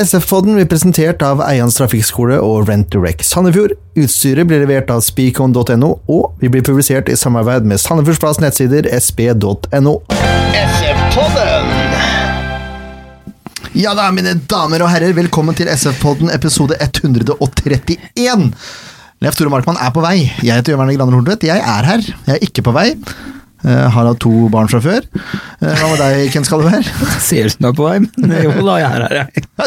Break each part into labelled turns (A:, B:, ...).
A: SF-podden blir presentert av Eians trafikkskole og Rent2Rec Sandefjord. Utstyret blir levert av speakon.no, og vi blir publisert i samarbeid med Sandefjordsplass nettsider sp.no. Ja da, mine damer og herrer, velkommen til SF-podden episode 131. Leif Tore Markmann er på vei. Jeg heter Jørgen Werner Graner Horntvedt. Jeg er her. Jeg er ikke på vei. Eh, har hatt to barn fra før. Eh, hva med deg, Ken Skalleberg?
B: Ser ut som du er på vei, men eh, jo da, jeg er her, jeg.
A: Ja,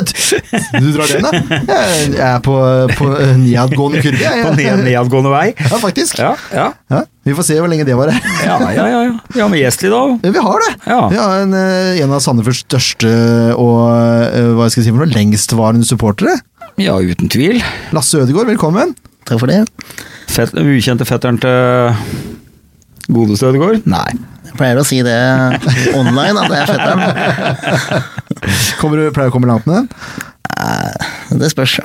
A: Du du drar den, da? Jeg jeg er på, på nedadgående kurve. jeg.
B: På ned, nedadgående vei.
A: Ja, faktisk.
B: Ja, ja.
A: Ja, vi får se hvor lenge det varer.
B: Ja, ja, ja. ja. Vi har med Gjestli, da.
A: Vi har det!
B: Ja.
A: Vi har en, eh, en av Sandefjords største og eh, hva skal jeg si for noe, lengstvarende supportere.
B: Ja, uten tvil.
A: Lasse Ødegaard, velkommen. Takk for det.
B: Fett, ukjente fetteren til Godeste Ødegaard? Nei.
C: Jeg pleier å si det online, at det er fetteren.
A: Kommer du, pleier du å komme langt med den?
C: Det spørs.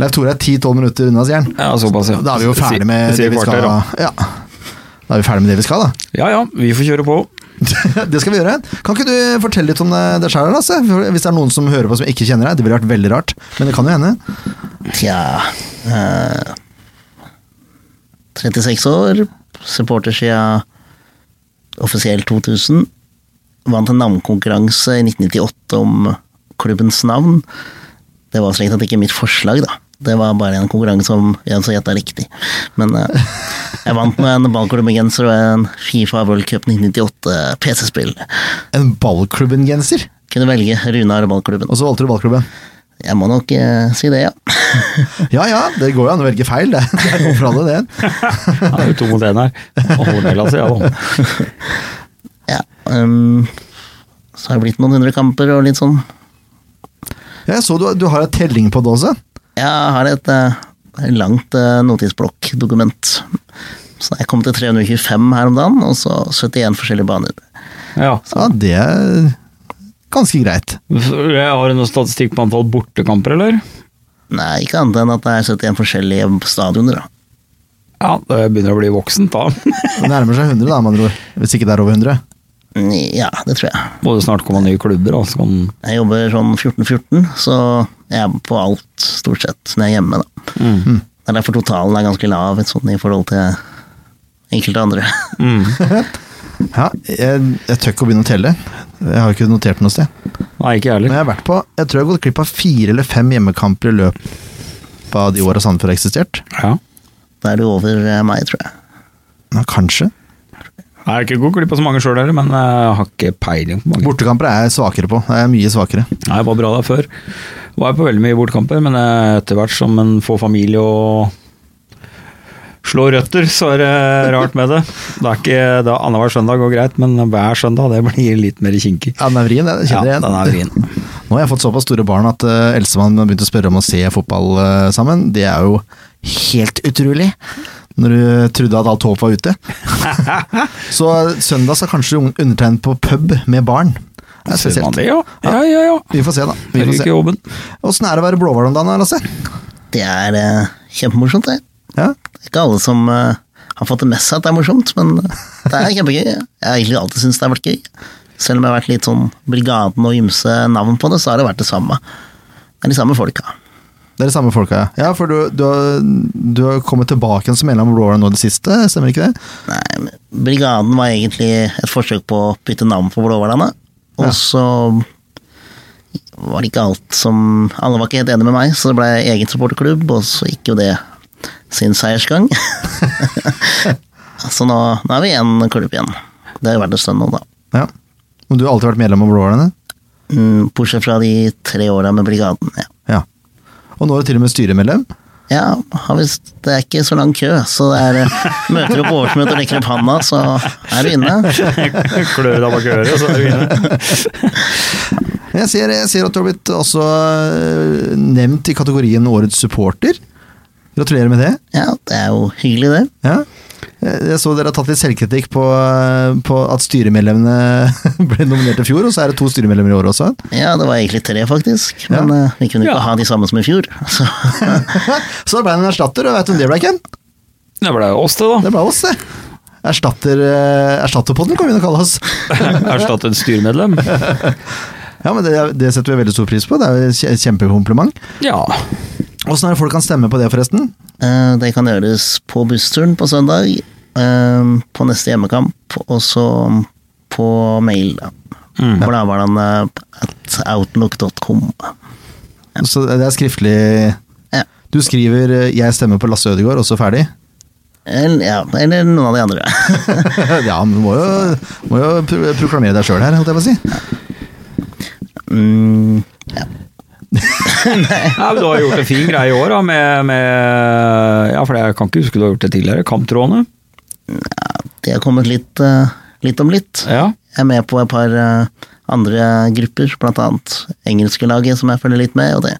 A: Leif Tore er 10-12 minutter unna, sier han.
B: Ja, såpass, ja.
A: Da er vi jo ferdig med
B: Si-
A: det
B: si
A: vi skal.
B: kvarter, da.
A: Ja. Da er vi ferdig med det vi skal, da.
B: Ja ja, vi får kjøre på.
A: det skal vi gjøre. Kan ikke du fortelle litt om deg deg sjæl, Lasse? For Hvis det er noen som hører på som ikke kjenner deg. Det ville vært veldig rart, men det kan jo hende.
C: Tja eh, 36 år, supporter siden offisielt 2000. Vant en navnkonkurranse i 1998 om klubbens navn. Det var strengt tatt ikke mitt forslag, da. Det var bare en konkurranse om en som gjetta riktig. Men eh, jeg vant med en ballklubbegenser og en Fifa World Cup 1998 PC-spill.
A: En ballklubben-genser,
C: Kunne velge Runar ballklubben.
A: og så valgte du ballklubben.
C: Jeg må nok eh, si det, ja.
A: Ja ja, det går jo an å velge feil, det. Det er noe for alle, det.
B: Ja, det er jo to mot én her. Holder med, altså, ja, da.
C: ja ehm, så har det blitt noen hundre kamper og litt sånn.
A: Ja, Jeg så du, du har en telling på det også.
C: Jeg har et eh, langt eh, notisblokkdokument. Så jeg kom til 325 her om dagen, og så 71 forskjellige baner.
B: Ja.
A: Ja, det er ganske greit.
B: Jeg har du noen statistikk på antall bortekamper, eller?
C: Nei, ikke annet enn at det er 71 forskjellige stadioner, da.
B: Ja, det begynner å bli voksent, da.
A: Det nærmer seg 100, da, med andre ord. Hvis ikke det er over 100.
C: Mm, Ja, det tror jeg.
B: Må det snart komme nye klubber, da, så kan
C: Jeg jobber sånn 14-14, så jeg er på alt, stort sett, når jeg er hjemme, da.
A: Mm.
C: Det er derfor totalen er ganske lav et sånt, i forhold til enkelte andre.
B: Mm.
A: Ja, jeg, jeg tør ikke å begynne å telle. Jeg har ikke notert det noe sted.
B: Nei, ikke
A: Men
B: jeg heller.
A: jeg har vært på Jeg tror jeg har gått glipp av fire eller fem hjemmekamper i løpet av de åra Sandefjord har eksistert.
B: Ja.
C: Da er du over eh, meg, tror jeg.
A: Ja, kanskje.
B: Jeg er ikke god glipp av så mange sjøl heller, men eh, jeg har ikke peiling på mange.
A: Bortekamper er jeg svakere på. Jeg er mye svakere.
B: Nei, jeg var bra der før. Var jeg på veldig mye bortekamper, men eh, etter hvert som en får familie og slår røtter, så er det rart med det. Det er ikke det er annenhver søndag går greit, men hver søndag det blir litt mer kinkig.
A: Ja, den er vrien, jeg kjenner
B: Ja,
A: igjen.
B: den er vrien.
A: Nå har jeg fått såpass store barn at uh, Elsemann har begynt å spørre om å se fotball eh, sammen. Det er jo helt utrolig. Når du trodde at alt håp var ute. så eh, søndag skal kanskje un- undertegne på pub med barn. Det er
B: Ser man
A: spesielt.
B: det, ja? Ja, ja, ja.
A: Vi får se, da. Vi
B: Det
A: får
B: er
A: se.
B: ikke jobben.
A: Åssen er det å være blåhval om dagen, da, Lasse?
C: Det er eh, kjempemorsomt, det.
A: Ja?
C: Det er ikke alle som eh, har fått det med seg at det er morsomt, men eh, det er kjempegøy. Jeg har egentlig alltid syntes det har vært gøy. Selv om jeg har vært litt sånn Brigaden og ymse navn på det, så har det vært det samme. Det er de samme folka.
A: Det er de samme folka, ja. ja for du, du, har, du har kommet tilbake igjen som medlem av blåhval nå i det siste, stemmer ikke det?
C: Nei, men Brigaden var egentlig et forsøk på å bytte navn på Blåhvalene, og
A: Ja.
C: så var det ikke alt som Alle var ikke helt enige med meg, så det ble egen supporterklubb, og så gikk jo det sin seiersgang. så nå, nå er vi én klubb igjen. Det har jo vært en stund nå, da.
A: Ja. Men du har alltid vært medlem av blåhvalene?
C: Mm, Bortsett fra de tre åra med Brigaden. Ja.
A: Ja. Og nå er du til og med styremedlem.
C: ja har visst- det er ikke så lang kø, så det er eh, møter du på årsmøte og rekker opp handa, så er du inne.
B: Klør deg bak øret, så er du inne.
A: Jeg ser, jeg ser at du har blitt også øh, nevnt i kategorien Årets supporter. Gratulerer med det.
C: Ja, det er jo hyggelig, det.
A: Ja. Eh, Jeg jeg så dere har tatt litt selvkritikk på, øh, på at styremedlemmene ble nominert i fjor, og så er det to styremedlemmer i år også.
C: Ja, det var egentlig tre, faktisk. Men
A: Ja.
C: eh, vi kunne ikke
B: Ja.
C: ha de samme som i fjor. Så
A: Så det ble en erstatter, og vet du om det ble, Ken?
B: Det ble jo oss, det, da.
A: Det ble oss, det. eh, Erstatter, øh, erstatterpodden kan vi nå kalle oss.
B: Erstattet styremedlem.
A: Ja, men det, det setter vi veldig stor pris på. Det er jo et kje- kjempekompliment.
B: Ja.
A: Åssen er det folk kan stemme på det, forresten?
C: Eh, Det kan gjøres på bussturen på søndag, eh, på neste hjemmekamp, og så på mail. da.
B: Mm.
C: Bladbladene at outlook.com.
A: Så det er skriftlig
C: Ja.
A: Du skriver eh, 'jeg stemmer på Lasse Ødegaard', og så ferdig?
C: Eller, ja, eller noen av de andre.
A: ja, men du må jo, må jo pro proklamere deg sjøl her, holdt jeg på å si.
C: Mm, ja.
B: Ja, men du har gjort en fin greie i år, da, med, med Ja, for jeg kan ikke huske du har gjort det tidligere. Kamptrådene.
C: Det har kommet litt, eh, litt om litt.
B: Ja.
C: Jeg er med på et par eh, andre grupper, blant annet engelske laget som jeg følger litt med, og det,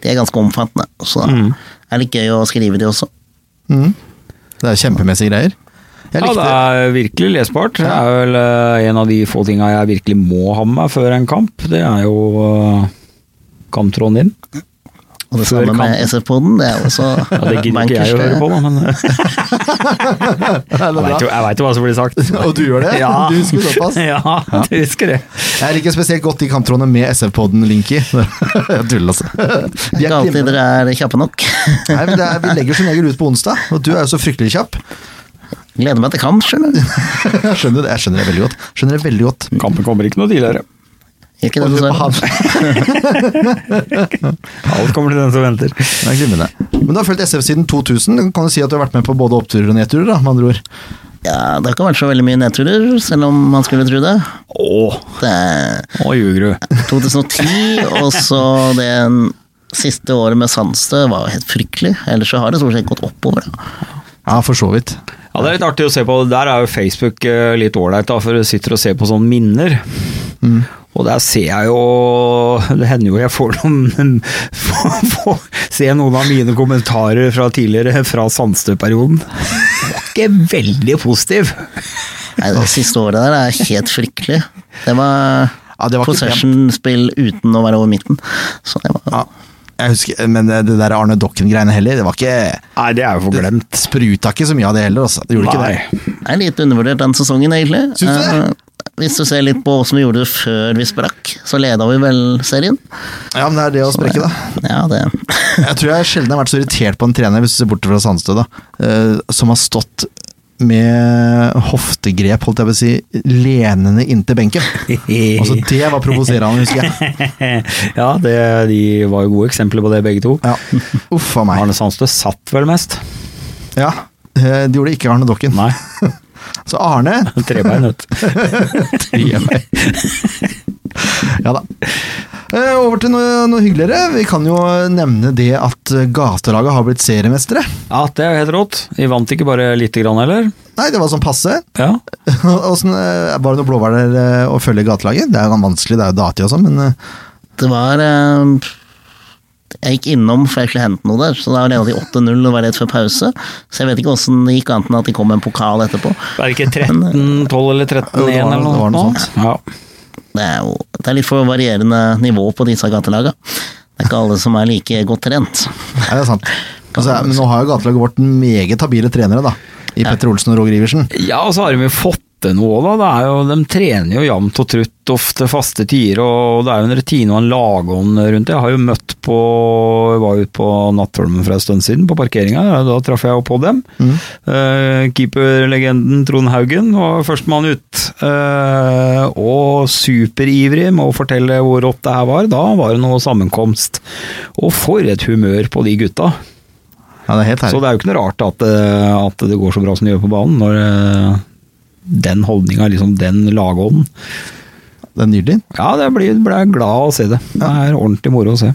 C: det er ganske omfattende. Så
B: Mm.
C: er det litt gøy å skrive de også.
A: Mm. Det er kjempemessige greier. Jeg
B: ja,
A: likte
B: det er virkelig lesbart. Det er vel eh, en av de få tinga jeg virkelig må ha med meg før en kamp. Det er jo eh, kamptråden din.
C: Og det
B: Før
C: samme med
B: kampen.
C: SF-poden, det er også
B: Ja, det gidder ikke jeg å høre på, da, men eh, jeg
A: Er det
B: veit
A: bra?
B: jo, jeg vet jo hva som blir sagt.
A: Og du gjør det?
B: Ja.
A: Du husker såpass?
B: Ja, du husker det.
A: Jeg liker spesielt godt de kamptrådene med SF-podden Linky. Jeg tuller, altså.
C: Det
A: De
C: er
A: er
C: ikke alltid
A: glimrende.
C: dere er kjappe nok.
A: Nei, men det er, vi legger som regel ut på onsdag, og du er jo så fryktelig kjapp.
C: Gleder meg til kamp, skjønner du.
A: Jeg skjønner det, jeg skjønner det veldig godt. Skjønner det veldig godt.
B: Kampen kommer ikke noe tidligere.
C: Ikke
A: Og
C: det,
A: du på
C: dessverre.
A: han-
B: Alt kommer til den som venter.
A: Det er glimrende. Men du har fulgt SF siden 2000. Kan du si at du har vært med på både oppturer og nedturer, da, med andre ord?
C: Ja, det har ikke vært så veldig mye nedturer, selv om man skulle tro det.
B: Å,
C: Det er
B: nå ljuger du.
C: 2010, og så det siste året med Sandstø var jo helt fryktelig. Ellers så har det stort sett gått oppover. Da.
A: Ja, for så vidt.
B: Ja, Det er litt artig å se på. Der er jo Facebook eh, litt ålreit, da, for du sitter og ser på sånne minner. Og der ser jeg jo Det hender jo jeg får noen får, får, Se noen av mine kommentarer fra tidligere, fra Sandstø-perioden. Jeg var Ikke veldig positiv.
C: Nei, det siste året der er helt fryktelig. Det var,
A: Ja, det var ikke
C: possession-spill uten å være over midten. Så det var
A: Ja, jeg husker, Men det der Arne Dokken-greiene heller, det var ikke
B: Nei, det er jo for glemt.
A: Spruta ikke så mye av det heller, altså. Det gjorde ikke det.
B: Nei.
C: det er litt undervurdert den sesongen, egentlig.
A: Syns du det?
C: Eh, hvis du ser litt på åssen vi gjorde det før vi sprakk, så leda vi vel serien.
A: Ja, men det er det å sprekke, da.
C: Ja, det
A: Jeg tror jeg sjelden har vært så irritert på en trener, hvis du ser bort fra Sandstø, da, eh, som har stått med hoftegrep, holdt jeg på å si, lenende inntil benken. Altså, det var provoserende, husker jeg.
B: Ja, det, de var jo gode eksempler på det, begge to.
A: Ja. Uff a meg.
B: Arne Sandstø satt vel mest.
A: Ja. eh, Det gjorde ikke Arne Dokken.
B: Nei,
A: Så Arne
B: trebein, vet du.
A: Ja da. Eh, Over til noe, noe hyggeligere. Vi kan jo nevne det at eh, gatelaget har blitt seriemestere.
B: Ja, det er jo helt rått. Vi vant ikke bare lite grann heller.
A: Nei, det var sånn passe.
B: Ja.
A: Åssen, eh, var det noe blåbær der eh, å følge gatelaget? Det er jo vanskelig, det er jo datid og sånn, men eh,
C: Det var eh, Jeg gikk innom for jeg skulle hente noe der, så da leda de 8-0 og var rett før pause. Så jeg vet ikke åssen det gikk, annet enn at de kom med en pokal etterpå.
B: Er det ikke 13, 12 eller 13,
A: Jo,
B: 1
A: det var-
B: eller
A: det
B: noe,
A: var noe
B: sånt? Ja.
C: Det er jo det er litt for varierende nivå på disse gatelaga. Det er ikke alle som er like godt trent.
A: Nei, det er sant. Altså, men nå har jo gatelaget vårt meget habile trenere, da. I Petter Olsen og Roger Iversen.
B: ja, og så har de jo fått til noe, da. Det er jo, de trener jo jevnt og trutt, ofte faste tider, og det er jo en rutine og en lagånd rundt det. Jeg har jo møtt på Jeg var ute på Nattholmen for en stund siden, på parkeringa. Da traff jeg jo på dem.
A: Mm.
B: Eh, Keeperlegenden Trond Haugen var førstemann ut. eh, og superivrig med å fortelle hvor rått det her var. Da var det noe sammenkomst. Og for et humør på de gutta.
A: Ja, det er helt
B: Så
A: herlig.
B: det er jo ikke noe rart at, eh, at det går så bra som det gjør på banen, når eh, den holdninga, liksom den lagånden
A: Det er nydelig.
B: Ja, det blir, blir jeg glad av å se det. Det er ordentlig moro å se.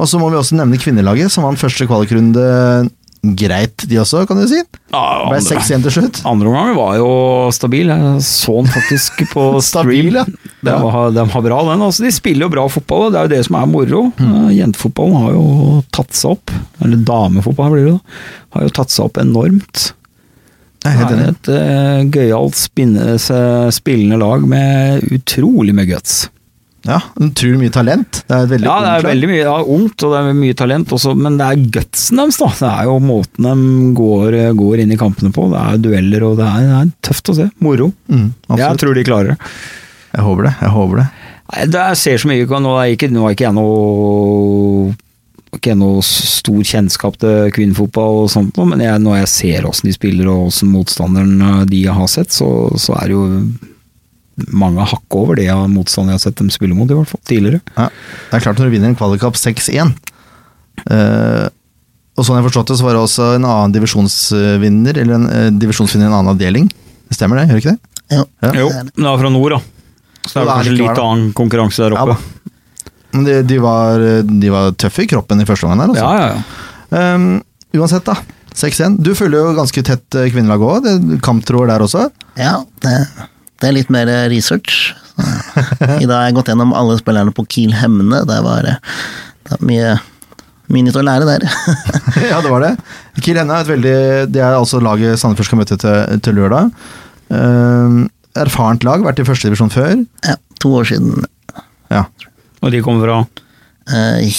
A: Og så må vi også nevne kvinnelaget, som vant første kvalikrunde greit, de også, kan du si.
B: Ja,
A: Ble
B: andre-
A: 6-1 til slutt.
B: Andre omgang var jo stabil. Jeg så den faktisk på stream.
A: Stabil, ja.
B: Den var, den var bra, den. Altså, de spiller jo bra fotball, og det er jo det som er moro.
A: Mm.
B: Eh, Jentefotballen har jo tatt seg opp. Eller damefotball blir det, da. Har jo tatt seg opp enormt.
A: Jeg er helt
B: Det er
A: enig.
B: et uh, gøyalt spinne- se- spillende lag med utrolig mye guts.
A: Ja, Utrolig mye talent. Det er et veldig
B: Ja, det
A: ungt
B: er
A: lag.
B: veldig mye ja, ungt, og det er mye talent også, men det er gutsen deres, da. Det er jo måten de går, går inn i kampene på. Det er dueller, og det er, det er tøft å se. Moro.
A: Mm,
B: jeg
A: absolutt.
B: tror de klarer det.
A: Jeg håper det. jeg håper det.
B: Nei, det jeg ser så mye ut, nå er ikke, nå er ikke jeg noe ikke jeg noe stor kjennskap til kvinnefotball og sånt, noe, men jeg, når jeg ser åssen de spiller og åssen motstanderen eh, de jeg har sett, så, så er det jo mange hakk over det jeg- motstanderen jeg har sett dem spille mot, i hvert fall tidligere.
A: Ja. Det er klart når du vinner en kvalikcup 6-1 eh, Og sånn jeg forstått det, så var det også en annen divisjonsvinner, eller en eh, divisjonsvinner i en annen avdeling. Det stemmer det, gjør det ikke det?
C: Jo,
A: Ja.
B: Jo,
C: det er det.
B: men det er fra nord, da. Så det
A: Og
B: er
A: det er
B: kanskje
A: likevel,
B: litt
A: da.
B: annen konkurranse der
A: Ja,
B: oppe.
A: da. Men de, de, var, de var tøffe i kroppen i første omgang der, altså.
B: Ja, ja, ja.
A: Ehm, uansett, da. 6-1. Du følger jo ganske tett eh, kvinnelag òg. Kamptroer der også.
C: ja det, det er litt mer eh, research. I dag har jeg gått gjennom alle spillerne på Kiel Hemne. Det var eh, det er mye, mye nytt å lære der.
A: ja, det var det. Kiel Henne er et veldig Det er altså laget Sandefjord skal møte til, til lørdag. Ehm, erfarent lag, vært i førstedivisjon før.
C: ja, to år siden
A: Ja.
B: Og de kommer fra
C: eh,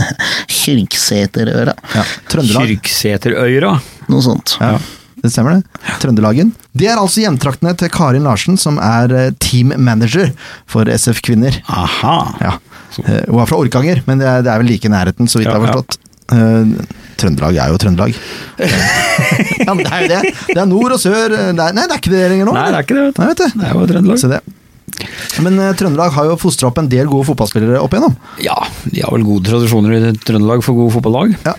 C: Kyrksæterøra,
A: ja. Trøndelag.
B: Kyrksæterøyra.
C: noe sånt.
A: Ja, det stemmer det. Trøndelagen. Det er altså hjemtraktene til Karin Larsen, som er eh, team manager for SF Kvinner.
B: Aha.
A: Ja.
B: Så.
A: Eh, Hun er fra Orkanger, men det er, det er vel like i nærheten, så vidt jeg
B: Ja,
A: har
B: ja.
A: forstått. Eh, Trøndelag er jo Trøndelag. ja, men det er jo det. Det er nord og sør eh, det er, Nei, det er ikke det lenger nå.
B: Nei, det er ikke det. vet du.
A: Nei, vet du.
B: Det er jo Trøndelag.
A: Se Altså det. Men eh, Trøndelag har jo fostra opp en del gode fotballspillere opp igjennom.
B: Ja, de har vel gode tradisjoner i Trøndelag for gode fotballag.
A: Ja.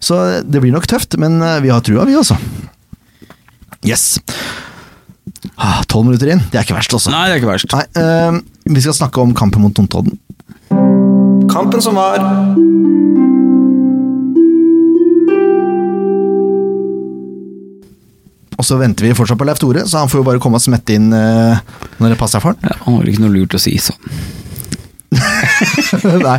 A: Så eh, det blir nok tøft, men eh, vi har trua, vi altså. Yes. Ah, Tolv minutter inn, det er ikke verst, altså.
B: Nei, det er ikke verst. sånn.
A: Nei, eh, vi skal snakke om kampen mot Notodden. Kampen som var Og så venter vi fortsatt på Leif Tore, så han får jo bare komme og smette inn eh, når det passer for han.
B: Ja, han har vel ikke noe lurt å si sånn.
A: Nei,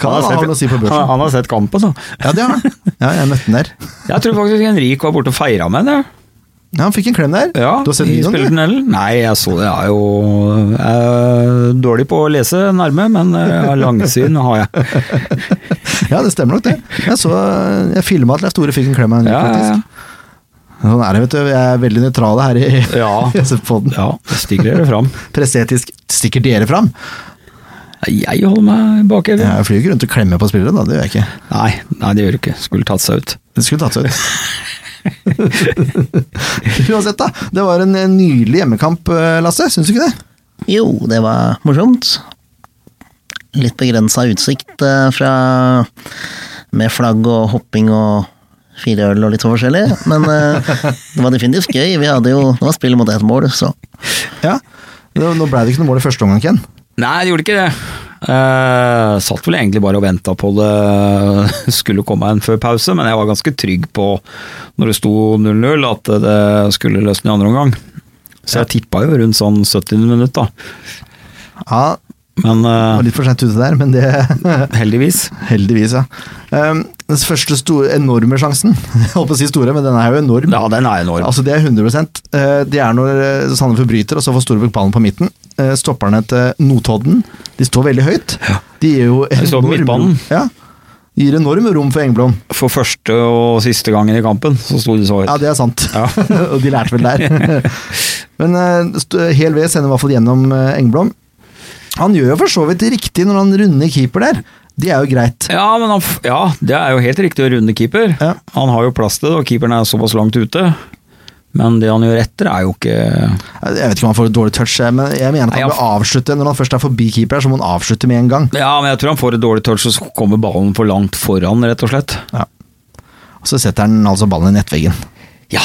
A: kan han ha noe å si på børsen?
B: han har sett kampen, da.
A: Ja, det har han. Ja, jeg møtte han der.
B: Jeg tror faktisk Henrik var borte og feira med henne.
A: Ja, han fikk en klem der.
B: Ja,
A: du har sett
B: i
A: videoen, du?
B: spillertunnelen. Nei, jeg så det. Jeg er jo jeg er dårlig på å lese nærme, men eh, langsyn har jeg.
A: Ja, det stemmer nok, det. Jeg, så, jeg filma at Leif Tore fikk en klem av Henrik,
B: Ja, ja, ja.
A: faktisk. Sånn er det, vet du. Vi er veldig nøytrale her i
B: Ja.
A: SF-poden.
B: Ja, stikker dere fram.
A: Presseetisk stikker dere fram.
B: Jeg holder meg bak Even.
A: Jeg flyr ikke rundt og klemmer på spillere, da. Det gjør jeg ikke.
B: Nei, nei, det gjør du ikke. Skulle tatt seg ut.
A: Det skulle tatt seg ut. Uansett, da. Det var en en nydelig hjemmekamp, eh, Lasse. Syns du ikke det?
C: Jo, det var morsomt. Litt begrensa utsikt eh, fra Med flagg og hopping og fire øl og litt sånn forskjellig. Men eh, det var definitivt gøy. Vi hadde jo, det var spill mot ett mål, så
A: Ja. Nå nå ble det ikke noe mål i første omgang, Ken.
B: Nei, det gjorde ikke det. Eh, satt vel egentlig bare og venta på det skulle komme en før pause, men jeg var ganske trygg på, når det sto 0-0, at det skulle løsne i andre omgang. Så jeg tippa jo rundt sånn 70 minutt, da.
A: Ja,
B: Men
A: det var
B: eh,
A: litt for seint ute der, men det
B: heldigvis.
A: Heldigvis, ja. Um, den første store, enorme sjansen, jeg holdt på å si store, men den er jo enorm.
B: Ja, den er enorm.
A: Altså, det er 100 Eh, Det er når eh, Sandefjord bryter, og så får Storbekk ballen på midten. Eh, Stopperne til Notodden, de står veldig høyt. De gir jo
B: De står på
A: enorm
B: midtbanen.
A: rom- Ja. Gir enorme rom for Engblom.
B: For første og siste gangen i kampen så sto det så
A: Ja,
B: høyt.
A: det er sant.
B: Ja.
A: og de lærte vel der. Men eh, st- Hel ved sender i hvert fall gjennom eh, Engblom. Han gjør jo for så vidt det riktig når han runder keeper der. Det er jo greit.
B: Ja, men han, f- ja, det er jo helt riktig å runde keeper.
A: Ja.
B: Han har jo plass til det, og keeperen er såpass langt ute. Men det han gjør etter, er jo ikke
A: Jeg vet ikke om han får et dårlig touch, eh, men jeg mener at
B: Nei,
A: han
B: han
A: bør avslutte når han først er forbi keeper her, så må han avslutte med en gang.
B: Ja, men jeg tror han får et dårlig touch, og så kommer ballen for langt foran, rett og slett.
A: Og så setter han altså ballen i nettveggen.
B: Ja.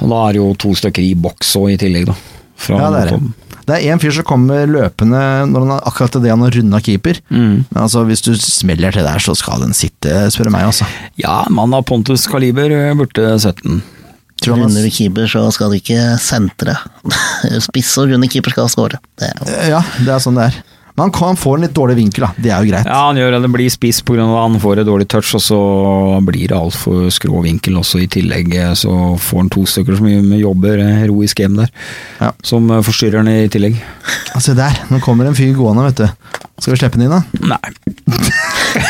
B: Og da er det jo to stykker i boks òg, i tillegg, da. Fra
A: Ja, det er
B: Notodden.
A: det. Det er en fyr som kommer løpende når han har akkurat det han har runda keeper.
B: Mm.
A: Men altså, hvis du smeller til der, så skal den sitte, spør du meg, altså.
B: Ja, mann av Pontus kaliber eh, burde sett den.
A: Tror han
C: runder du keeper, så skal du ikke sentre. Spiss og runde keeper skal score. Det er jo-
A: Ja, det er sånn det er. Men han, kan, han får en litt dårlig vinkel, da. Det er jo greit.
B: Ja, han gjør det. Det blir spiss pga. at han får et dårlig touch, og så blir det altfor skrå vinkel også i tillegg. eh, Så får han to stykker som jobber eh, heroisk hjem der,
A: Ja.
B: som eh, forstyrrer han i tillegg.
A: Se Altså, der, nå kommer en fyr gående, vet du. Skal vi slippe den inn, da?
B: Nei.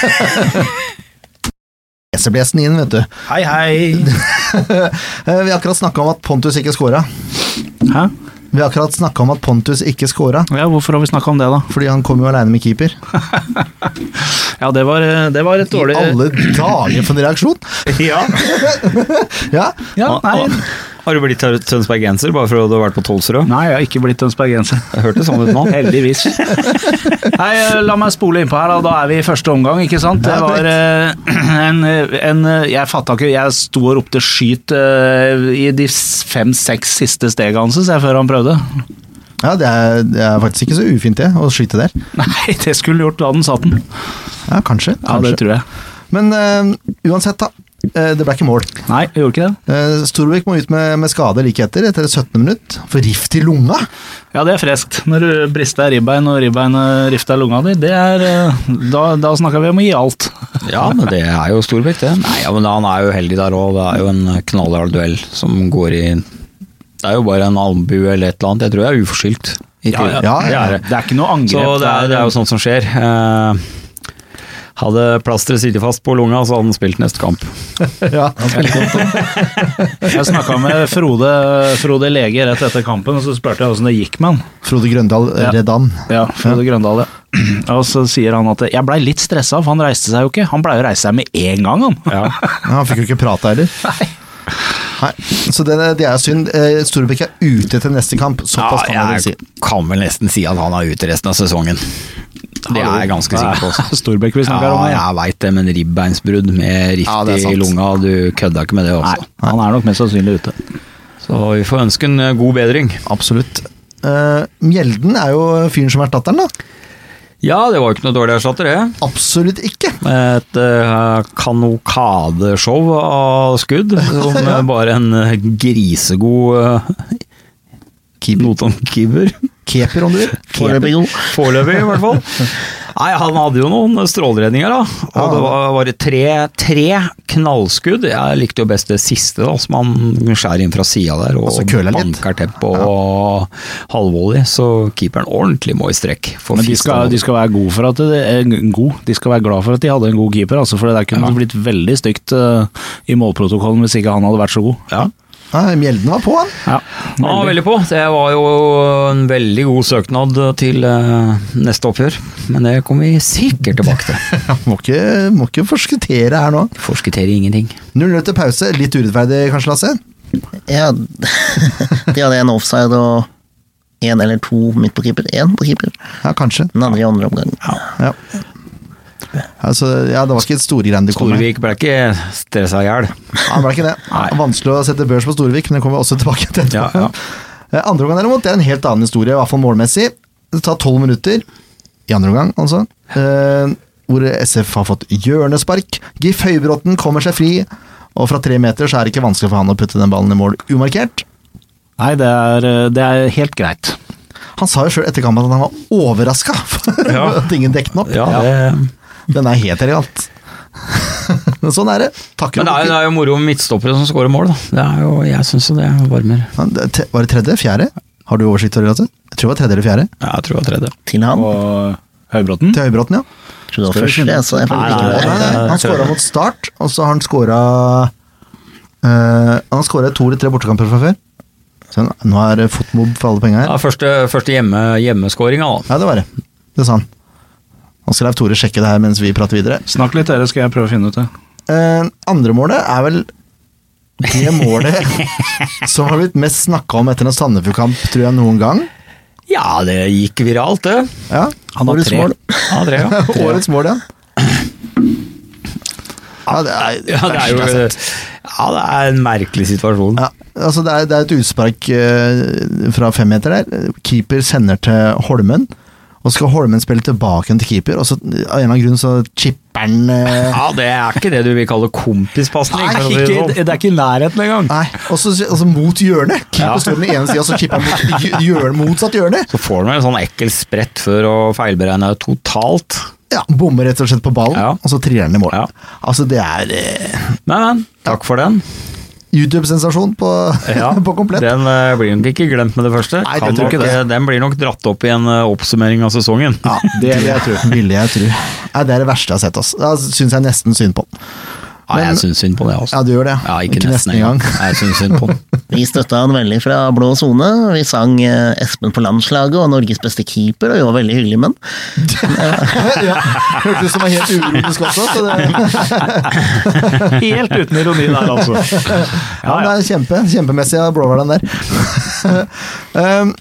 A: Leserblesten inn, vet du.
D: Hei, hei!
A: Eh, Vi har akkurat snakka om at Pontus ikke scora.
D: Hæ?
A: Vi har akkurat snakka om at Pontus ikke scora,
D: Ja, hvorfor har vi snakka om det, da?
A: fordi han kom jo aleine med keeper.
D: Ja, det var, eh, det var et
A: I
D: dårlig
A: alle dager for en reaksjon!
B: Ja.
A: Ja,
D: Ja, nei.
B: Har du blitt tø- tønsbergenser bare fordi du har vært på Tolsrød?
D: nei, jeg har ikke blitt tønsbergenser.
B: Det hørtes sånn ut nå.
D: Heldigvis. Nei, eh, la meg spole innpå her, da. Da er vi i første omgang, ikke sant? Det
A: Ja,
D: var eh, en, en Jeg fatta ikke Jeg sto og ropte 'skyt' eh, i de fem-seks siste stegene hans, jeg, før han prøvde.
A: ja det, er, det er faktisk ikke så ufint det, å skyte der.
D: Nei, det skulle gjort da den satt den.
A: Ja, kanskje.
D: Ja, det
A: kanskje.
D: tror jeg.
A: Men eh, uansett, da. eh, det ble ikke mål.
D: Nei, jeg gjorde ikke det.
A: Uh, Storvik må ut med, med skade like etter, etter 17. minutt. For rift i lunga!
D: Ja, det er freskt. Når du brister ribbein, og ribbeinet rifter lunga di, det er eh, Da, da snakker vi om å gi alt.
B: Ja, men det er jo Storbekk, det. Nei, ja, men Han er jo heldig der òg. Det er jo en knallhard duell som går i Det er jo bare en albue eller et eller annet. Jeg tror jeg er uforskyldt. i
D: Ja, ja.
B: tillegg.
A: Ja,
B: Det
A: ja.
B: er det.
D: Det er ikke noe angrep.
B: Så det er, det er
D: sånn.
B: jo sånt som skjer. Eh, hadde plasteret sittet fast på lunga, så hadde han spilt neste kamp.
A: ja.
D: Jeg snakka med Frode, Frode lege rett etter kampen, og så spurte jeg åssen det gikk med han.
A: Frode Grøndal eh,
D: Ja.
A: ja. redd han.
D: Ja, Frode Grøndal, ja. Og så sier han at jeg blei litt stressa, for han reiste seg jo ikke. Han blei jo reise seg med en gang, han.
B: Ja.
A: Ja, han fikk jo ikke prata heller. Nei. Så det, det er synd. Eh, Storbekk er ute til neste kamp, såpass kan man vel si.
B: jeg kan vel nesten si at han er ute resten av sesongen. Det er jeg ganske sikker på. også.
D: Storbekk vi snakker
B: Ja,
D: om. Ja.
B: jeg veit det, men ribbeinsbrudd med rift
A: Ja, det er
B: i
A: sant.
B: lunga, du kødda ikke med det altså.
D: Nei,
B: også.
D: han er nok mest sannsynlig ute.
B: Så vi får ønske en eh, god bedring.
A: Absolutt. Eh, Mjelden er jo fyren som er datteren, da.
B: Ja, det var jo ikke noe dårlig erstatter, det.
A: Absolutt ikke!
B: Et eh, kanokadeshow av skudd, som eh, bare en eh, grisegod eh, Notan-keeper.
A: Keeper, om du vil.
C: Foreløpig god.
B: Foreløpig, i hvert fall. Nei, Han hadde jo noen stråleredninger, da.
A: Ja.
B: Og det var bare tre, tre knallskudd. Jeg likte jo best det siste, da, som han skjærer inn fra sida der og
A: Altså, køler litt.
B: banker til på halvvolley. Så keeperen ordentlig må i strekk. For
D: Men de
B: fist
D: skal,
B: av-
D: de skal være gode for at det er god. De skal være glad for at de hadde en god keeper, altså, for det der kunne blitt veldig stygt eh, i målprotokollen hvis ikke han hadde vært så god.
B: ja.
A: Nei, Mjelden var på, han.
D: Ja,
B: Ja, han var veldig på. Det var jo en veldig god søknad til eh, neste oppgjør, men det kommer vi sikkert tilbake til.
A: Må ikke, må ikke forskuttere her nå.
B: Forskutterer ingenting.
A: 0-0 til pause. Litt urettferdig, kanskje, Lasse?
C: Ja, de hadde en offside og én eller to midt på keeper. Én på keeper,
A: Ja, kanskje.
C: den andre i andre omgang.
A: Ja. Altså, ja, det var ikke et storgreiene det kom med.
B: Storvik ble ikke stressa i hjel.
A: Han ble ikke det. Vanskelig å sette børs på Storvik, men det kommer vi også tilbake til. etterpå.
B: Ja, ja.
A: Eh, Andre omgang derimot, det er en helt annen historie, i hvert fall målmessig. Det tar tolv minutter i andre omgang, altså. eh, Hvor SF har fått hjørnespark. Gif Høybråten kommer seg fri, og fra tre meter så er det ikke vanskelig for han å putte den ballen i mål umarkert.
D: Nei, det er, eh, det er helt greit.
A: Han sa jo sjøl etter kampen at han var overraska for
B: Ja.
A: at ingen dekket den opp.
B: Ja, det...
A: Den er helt elegant. Men sånn er det. Takker
B: Men det er, jo- det er jo moro med midtstoppere som scorer mål, da. Det er jo, jeg syns jo det varmer.
A: Ja, det er te- Var det tredje? Fjerde? Har du oversikt over det? Lasse? Jeg tror det var tredje eller fjerde.
B: Ja, jeg tror det var tredje.
C: Til han.
D: Og Høybråten?
A: Til Høybråten, ja.
C: Jeg Tror det var første, jeg, så jeg følte
B: Nei,
C: ikke
B: nei,
A: Nei,
C: det.
B: nei.
A: han skåra mot Start, og så har han skåra Han har skåra to eller tre bortekamper fra før. Så nå er det fotmob for alle penger
B: Ja,
A: her.
B: første første hjemme, hjemmeskåringa, da.
A: Ja, det var det. Det sa han. Nå skal Leif Tore sjekke det her mens vi prater videre.
D: Snakk litt dere, skal jeg prøve å finne ut det.
A: Eh, andre målet er vel det målet som har blitt mest snakka om etter en Sandefjord-kamp, tror jeg, noen gang.
B: Ja, det gikk viralt, det.
A: Ja.
C: Årets mål.
B: Ja, tre, ja.
A: Årets mål, ja. Ja, det er,
B: ja, det er jo Ja, det er en merkelig situasjon.
A: Ja, altså det er, det er et utspark eh, fra femmeter der. Keeper sender til Holmen, og skal Holmen spille tilbake igjen til keeper, og så av en eller annen grunn så chipper han eh,
B: Ja, det er ikke det du vil kalle kompispasning. for å si det sånn.
D: er ikke i nærheten engang.
A: Nei, og så og så mot hjørnet! Keeper står den ene sida, så chipper han mot hjø- hjørnet, motsatt hjørne.
B: Så får du en sånn ekkel sprett for å feilberegne totalt.
A: Ja, Bommer rett og slett på ballen,
B: Ja.
A: og så triller han i mål.
B: Ja.
A: Altså, det er eh,
B: Men, men. Takk for den.
A: YouTube-sensasjon på, på komplett.
B: Den eh, blir nok ikke glemt med det første.
A: Nei, det
B: Kan
A: tror jeg
B: nok,
A: ikke det.
B: eh, Den blir nok dratt opp i en eh, oppsummering av sesongen.
A: Ja, det vil jeg tro. Ville jeg tro. Nei, det er det verste jeg har sett. Ass. Da syns jeg nesten synd på den.
B: Ja,
A: Men-
B: jeg syns synd på det, altså.
A: Ja, du gjør det.
B: Ja, ikke, nesten engang. Jeg syns synd på den.
C: Vi støtta han veldig fra blå sone. Vi sang eh, Espen på landslaget og Norges beste keeper, og vi var veldig hyggelige menn.
A: ja, hørtes ut som en helt uronisk også. Så det,
D: Helt uten ironi der, altså.
A: ja, det er kjempe, kjempemessig av blåhvalen der. um,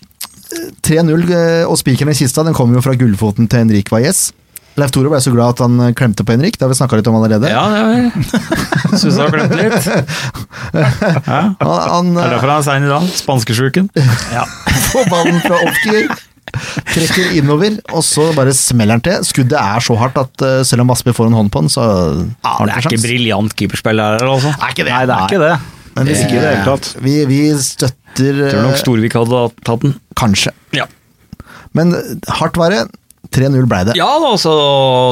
A: 3-0 eh, og spikeren i kista den kommer jo fra gullfoten til Henrik Valles. Leif Tore ble så glad at han eh, klemte på Henrik, det har vi snakka litt om allerede.
B: Ja, det er Syns jeg har glemt litt. Ja.
A: Han, han
B: Det er
A: eh,
B: derfor han er sein i dag. Spanskesjuken.
A: får ballen fra Ofker, trekker innover, og så bare smeller han til. Skuddet er så hardt at eh, selv om Aspi får en hånd på den, så har han ikke sjans.
B: briljant keeperspill her, altså.
A: er ikke
D: Nei, det er ikke det.
A: Men vi,
D: Ikke i det hele tatt.
A: vi, vi støtter
B: Tror nok
A: eh,
B: Storvik hadde tatt den.
A: Kanskje.
B: Ja.
A: Men eh, hardt var det. 3-0 ble det.
B: Ja da, altså,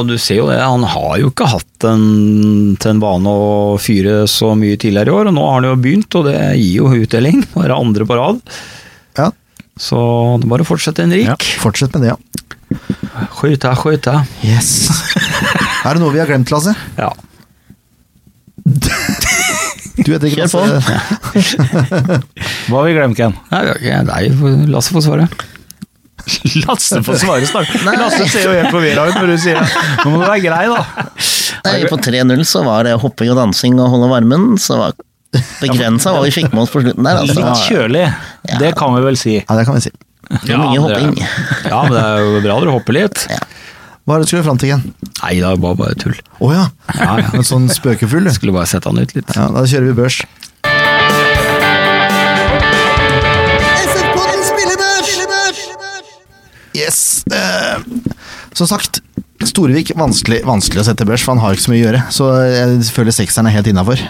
B: du ser jo det. Han har jo ikke hatt en, til en vane å fyre så mye tidligere i år, og nå har han jo begynt, og det gir jo utdeling. Nå er det andre på rad.
A: Ja,
B: Så det er bare å fortsette, Henrik.
A: Fortsett med det, ja.
B: Skøyta, skøyta.
A: Yes. er det noe vi har glemt, Lasse?
B: Ja.
A: Du heter ikke
C: Kjør på.
A: Lasse.
D: Hva har vi glemt, Ken?
B: Nei, vi har ikke- nei, Lasse får svare.
D: Lasse får svare snart. Lasse ser jo helt forvirra ut når du sier det. Nå må du være grei, da.
C: Nei, på 3-0 så var det hopping og dansing og holde varmen, så var begrensa hva vi fikk med oss på slutten der. Altså.
D: Litt kjølig. Det kan vi vel si.
A: Ja, det kan vi si.
C: Det var mye
B: men det-
C: hopping.
B: Ja, men det er jo bra dere hopper litt.
A: Hva er det du skulle fram til igjen?
B: Nei, det er bare, bare tull.
A: Å ja.
B: Ja, ja.
A: En sånn spøkefull, du.
B: Skulle bare sette han ut litt.
A: Ja, da kjører vi børs. Yes. eh, som sagt, Storvik vanskelig, vanskelig å sette børs, for han har ikke så mye å gjøre. Så jeg føler sekseren er helt innafor.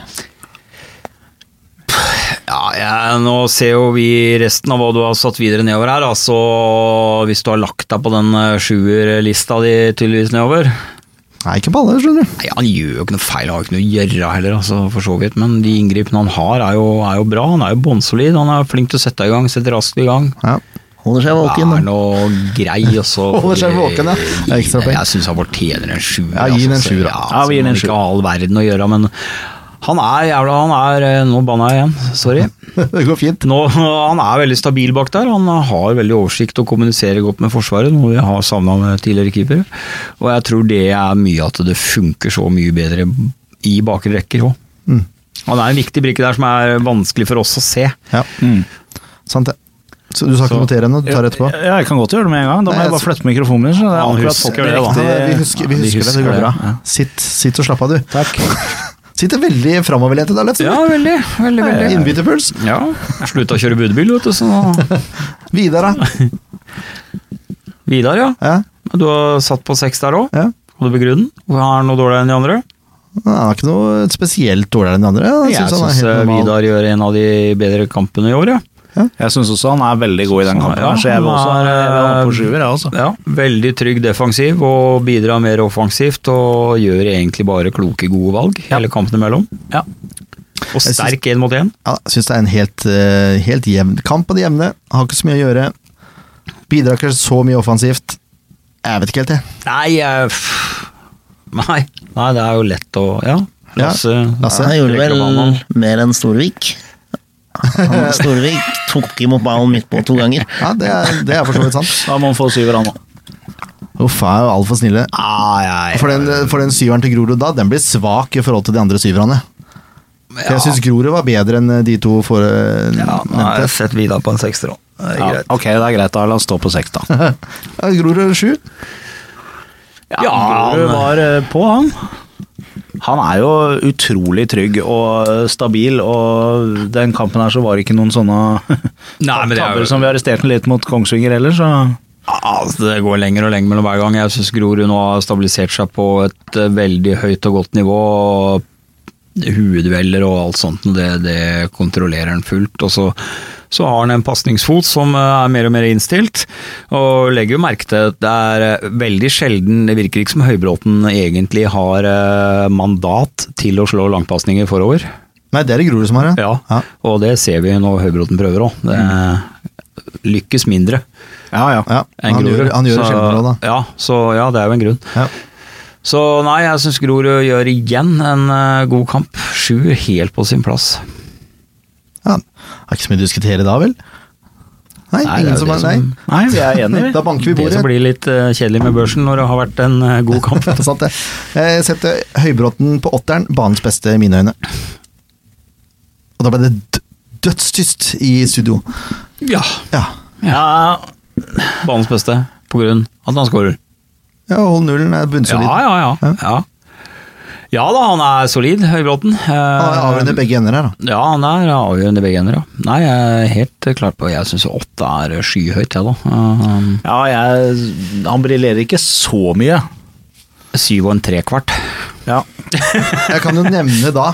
B: Ja, jeg, nå ser jo vi resten av hva du har satt videre nedover her. Altså, hvis du har lagt deg på den eh, sjuerlista di tydeligvis nedover
A: Nei, ikke på alle, skjønner du.
B: Nei, Han gjør jo ikke noe feil, han har jo ikke noe å gjøre heller, altså, for så vidt. Men de inngripene han har, er jo, er jo bra. Han er jo bånnsolid. Han er flink til å sette i gang, sette raskt i gang.
A: Ja.
C: Holder seg våken.
B: Er noe grei, og så
A: Holder seg våken, ja. Det er ekstra poeng.
B: Jeg syns han fortjener en sjuer.
A: Ja, gi den en
B: så-
A: sjuer, da.
B: Ja,
D: Ja, vi gir den en
B: altså, ikke all verden å gjøre, men han er jævla Han er eh, Nå banna jeg igjen, sorry.
A: Det går fint.
B: Nå, han er veldig stabil bak der. Han har veldig oversikt og kommuniserer godt med Forsvaret, noe vi har savna med tidligere keepere. Og jeg tror det er mye at det funker så mye bedre i bakre rekker òg.
A: Mm.
B: Han er en viktig brikke der som er vanskelig for oss å se.
A: Ja,
D: Mm.
A: sant det. Så du skal ikke notere henne, du tar det etterpå?
D: Ja, jeg kan godt gjøre det med en gang. Da må
A: Nei,
D: jeg bare
A: altså-
D: flytte mikrofonen min. Så det er
B: Ja, han
D: akkurat
B: husker
D: fått den
B: det, da.
D: riktige-
A: Ja, vi husker, vi
B: Ja, de
A: husker det, det går
B: husker
A: bra.
B: det, ja.
A: Sitt, sitt og slapp av, du.
D: Takk.
A: Sitter veldig framoverlent i dag, Leif.
B: Ja, veldig. veldig, veldig.
A: Innbytterpuls.
B: Ja, jeg slutta å kjøre budbil, vet du, så nå-
A: Vidar, da.
B: Vidar, ja.
A: Ja,
B: Men Du har satt på seks der òg.
A: ja.
B: Kan du begrunne den? Hvorfor har han noe dårligere enn de andre?
A: Han er ikke noe spesielt dårligere enn de andre. Han
B: Jeg
A: synes han er
B: syns
A: helt normal.
B: Vidar gjør en av de bedre kampene i år, ja.
D: Jeg syns også han er veldig god i den kampen,
B: Sånn, Ja,
D: her, så jeg vil
B: han
D: også
B: er,
D: jeg vil ha han på sjuer. jeg, altså.
B: ja. Veldig trygg defensiv og bidrar mer offensivt og gjør egentlig bare kloke, gode valg hele kampen imellom.
D: Ja.
B: Og
A: synes-
B: sterk én mot én.
A: Ja, jeg synes det er en helt, eh, helt jevn kamp på det jevne. Har ikke så mye å gjøre. Bidrar ikke så mye offensivt. Jeg vet ikke helt, jeg.
B: Nei, jeg- pff. Nei. Nei, det er jo lett å Ja.
A: Ja,
C: Så
B: altså,
A: Lasse.
C: han gjorde
B: trekker opp
C: vel
B: banen.
C: mer enn Storvik. Han, Storvik tok imot ballen midt på to ganger.
A: Ja, det er, det er for så vidt sant.
D: Da må han få syver, han òg.
A: Uff, jeg er jo altfor snille.
B: Nei, nei,
A: For den, for den syveren til Grorud da, den blir svak i forhold til de andre syverne. For jeg syns Grorud var bedre enn eh, de to for, eh,
B: Ja, nå har
A: nevnte.
B: jeg sett Vidar på en sekser òg. Det er
D: Ja,
B: greit.
D: ok, det er greit, da. La oss stå på seks, da.
A: Ja, Grorud sju.
B: Ja,
D: Grorud
B: han-
D: var eh, på, han. Han er jo utrolig trygg og eh, stabil, og den kampen her så var det ikke noen sånne
B: Nei, men det er jo-
D: tabber som vi arresterte litt mot Kongsvinger heller, så
B: Altså, det går lenger og lenger mellom hver gang. Jeg syns Grorud nå har stabilisert seg på et eh, veldig høyt og godt nivå. og Hoveddueller og alt sånt, det, det kontrollerer han fullt. Og så, så har han en pasningsfot som eh, er mer og mer innstilt. Og legger jo merke til at det er eh, veldig sjelden Det virker ikke som Høybråten egentlig har eh, mandat til å slå langpasninger forover.
A: Nei, det er det Grorud som har,
B: Ja, og det ser vi når Høybråten prøver òg. Det eh, lykkes mindre.
D: ja, ja.
A: Ja,
B: enn
A: han,
B: Grorud.
A: gjør, han gjør det
B: Så-
A: sjelden bra, da.
B: Ja, så ja, det er jo en grunn.
A: Ja.
B: Så nei, jeg syns Grorud gjør igjen en eh, god kamp. Sju helt på sin plass.
A: Ja, det er ikke så mye å diskutere da, vel? Nei,
B: Nei, det er
A: ingen
B: jo
A: som
B: det
A: har Nei.
B: som-
D: Nei, vi er
A: Da
D: enige, vi.
A: banker vi
B: Det
A: bordet.
B: som blir litt eh, kjedelig med børsen når det har vært en eh, god kamp.
A: Det er sant, det. Jeg setter Høybråten på åtteren, banens beste i mine øyne. Og da ble det d- dødstyst i studio.
B: Ja.
A: Ja,
D: Ja,
B: Banens beste, på grunn at han skårer.
A: ja hold nullen eh, er
B: Ja,
A: bunnsolid.
B: ja, ja.
A: Ja.
B: ja. Ja da, han er solid, Høybråten. Eh,
A: Han er Avgjørende begge ender her, da.
B: Ja, han er avgjørende begge ender, ja. Nei, jeg er helt eh, klar på Jeg syns åtte er eh, skyhøyt, jeg, da. Eh,
D: ja jeg, han briljerer ikke så mye.
B: Syv og en trekvart.
D: Ja.
A: Jeg kan jo nevne da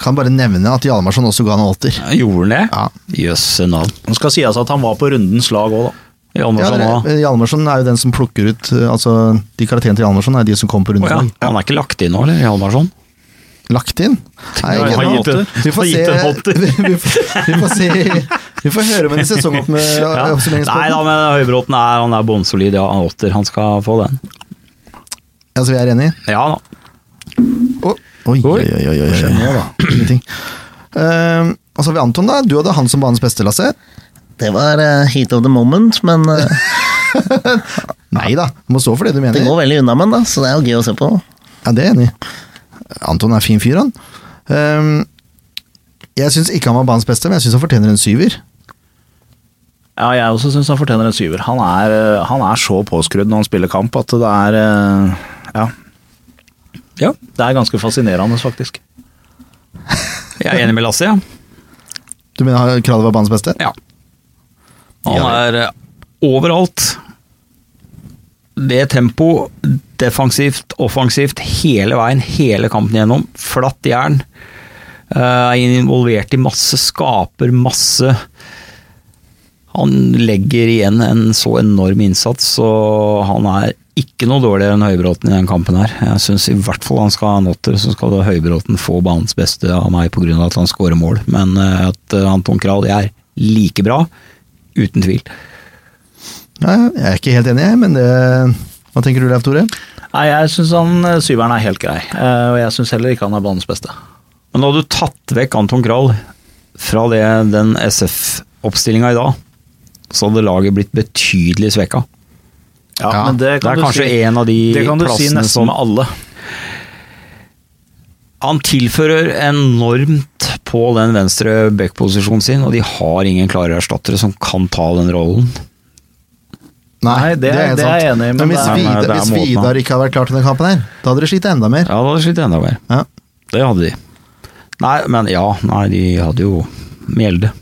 A: jeg kan bare nevne at Hjalmarsson også ga han en åtter.
B: Gjorde han det?
A: Ja.
B: Jøsse navn.
D: Det skal sies at han var på rundens lag òg, da.
A: Ja,
B: Hjalmarsson òg.
A: dere- eh, Hjalmarsson er jo den som plukker ut eh, Altså, de karakterene til Hjalmarsson er de som kommer på
B: Å ja.
A: rundslag.
B: Han er ikke lagt inn nå, eller? Hjalmarsson?
A: Lagt inn? Nei,
B: Ja,
A: ikke
B: han
A: noe.
B: gitt en-
A: vi får se
B: han gitt en åtter.
A: vi, vi, får, vi får se Vi får høre med en sesong opp med
B: Ja. Nei da,
A: oppsummeringspodden.
B: men Høybråten er, han er bånnsolid. Ja, han åtter. Han skal få den.
A: Altså, vi er enige?
B: Ja da.
A: Å, Oi, oi, oi, oi, oi. Skjer nå, da. Ingenting. Ehm, og så har vi Anton, da. Du hadde han som banens beste, Lasse.
C: Det var eh, heat of the moment, men eh,
A: Nei da, du må stå for det du mener.
C: det går veldig unna med den, da, så det er jo gøy å se på.
A: Ja, det er jeg enig. i. Anton er fin fyr, han. Ehm, jeg syns ikke han var banens beste, men jeg syns han fortjener en syver.
D: Ja, jeg også syns han fortjener en syver. Han er, eh, han er så påskrudd når han spiller kamp at det er eh, Ja.
B: Ja.
D: Det er ganske fascinerende, faktisk.
B: Jeg er enig med Lasse, ja.
A: Du mener han- Kraler var banens beste?
B: ja. Han er eh, overalt. Det tempo, defensivt, offensivt, hele veien, hele kampen gjennom. Flatt jern. Eh, Er involvert i masse, skaper masse. Han legger igjen en så enorm innsats, og han er ikke noe dårligere enn Høybråten i den kampen her. Jeg syns i hvert fall han skal ha en åtter, så skal da Høybråten få banens beste av meg pga. at han scorer mål. Men eh, at eh, Anton Krahl er like bra, uten tvil.
A: Ja, ja, jeg er ikke helt enig, jeg, men det Hva tenker du, Leif Tore?
D: Nei, jeg syns han eh, syveren er helt grei, eh, og jeg syns heller ikke han er banens beste.
B: Men hadde du tatt vekk Anton Krahl fra det, den SF-oppstillinga i dag, så hadde laget blitt betydelig svekka.
D: Ja,
A: Ja,
D: men det
B: det
D: kan
B: er
D: du
B: kanskje
D: si.
B: en av de
D: det kan du si
B: plassene
D: nesten
B: som-
D: med alle.
B: Han tilfører enormt på den venstre backposisjonen sin, og de har ingen klare erstattere som kan ta den rollen.
D: Nei, det-
A: helt
D: det er
A: sant.
D: jeg enig i, men
A: Men hvis,
D: det er-
B: Nei, det
A: Vidar,
B: er
A: hvis
B: måten, da.
A: Vidar ikke hadde vært klar til denne kampen her, da hadde dere slitt enda mer.
B: Ja, da hadde de slitt enda mer.
A: Ja.
B: Det hadde de. Nei, men ja, nei, de hadde jo Mjelde.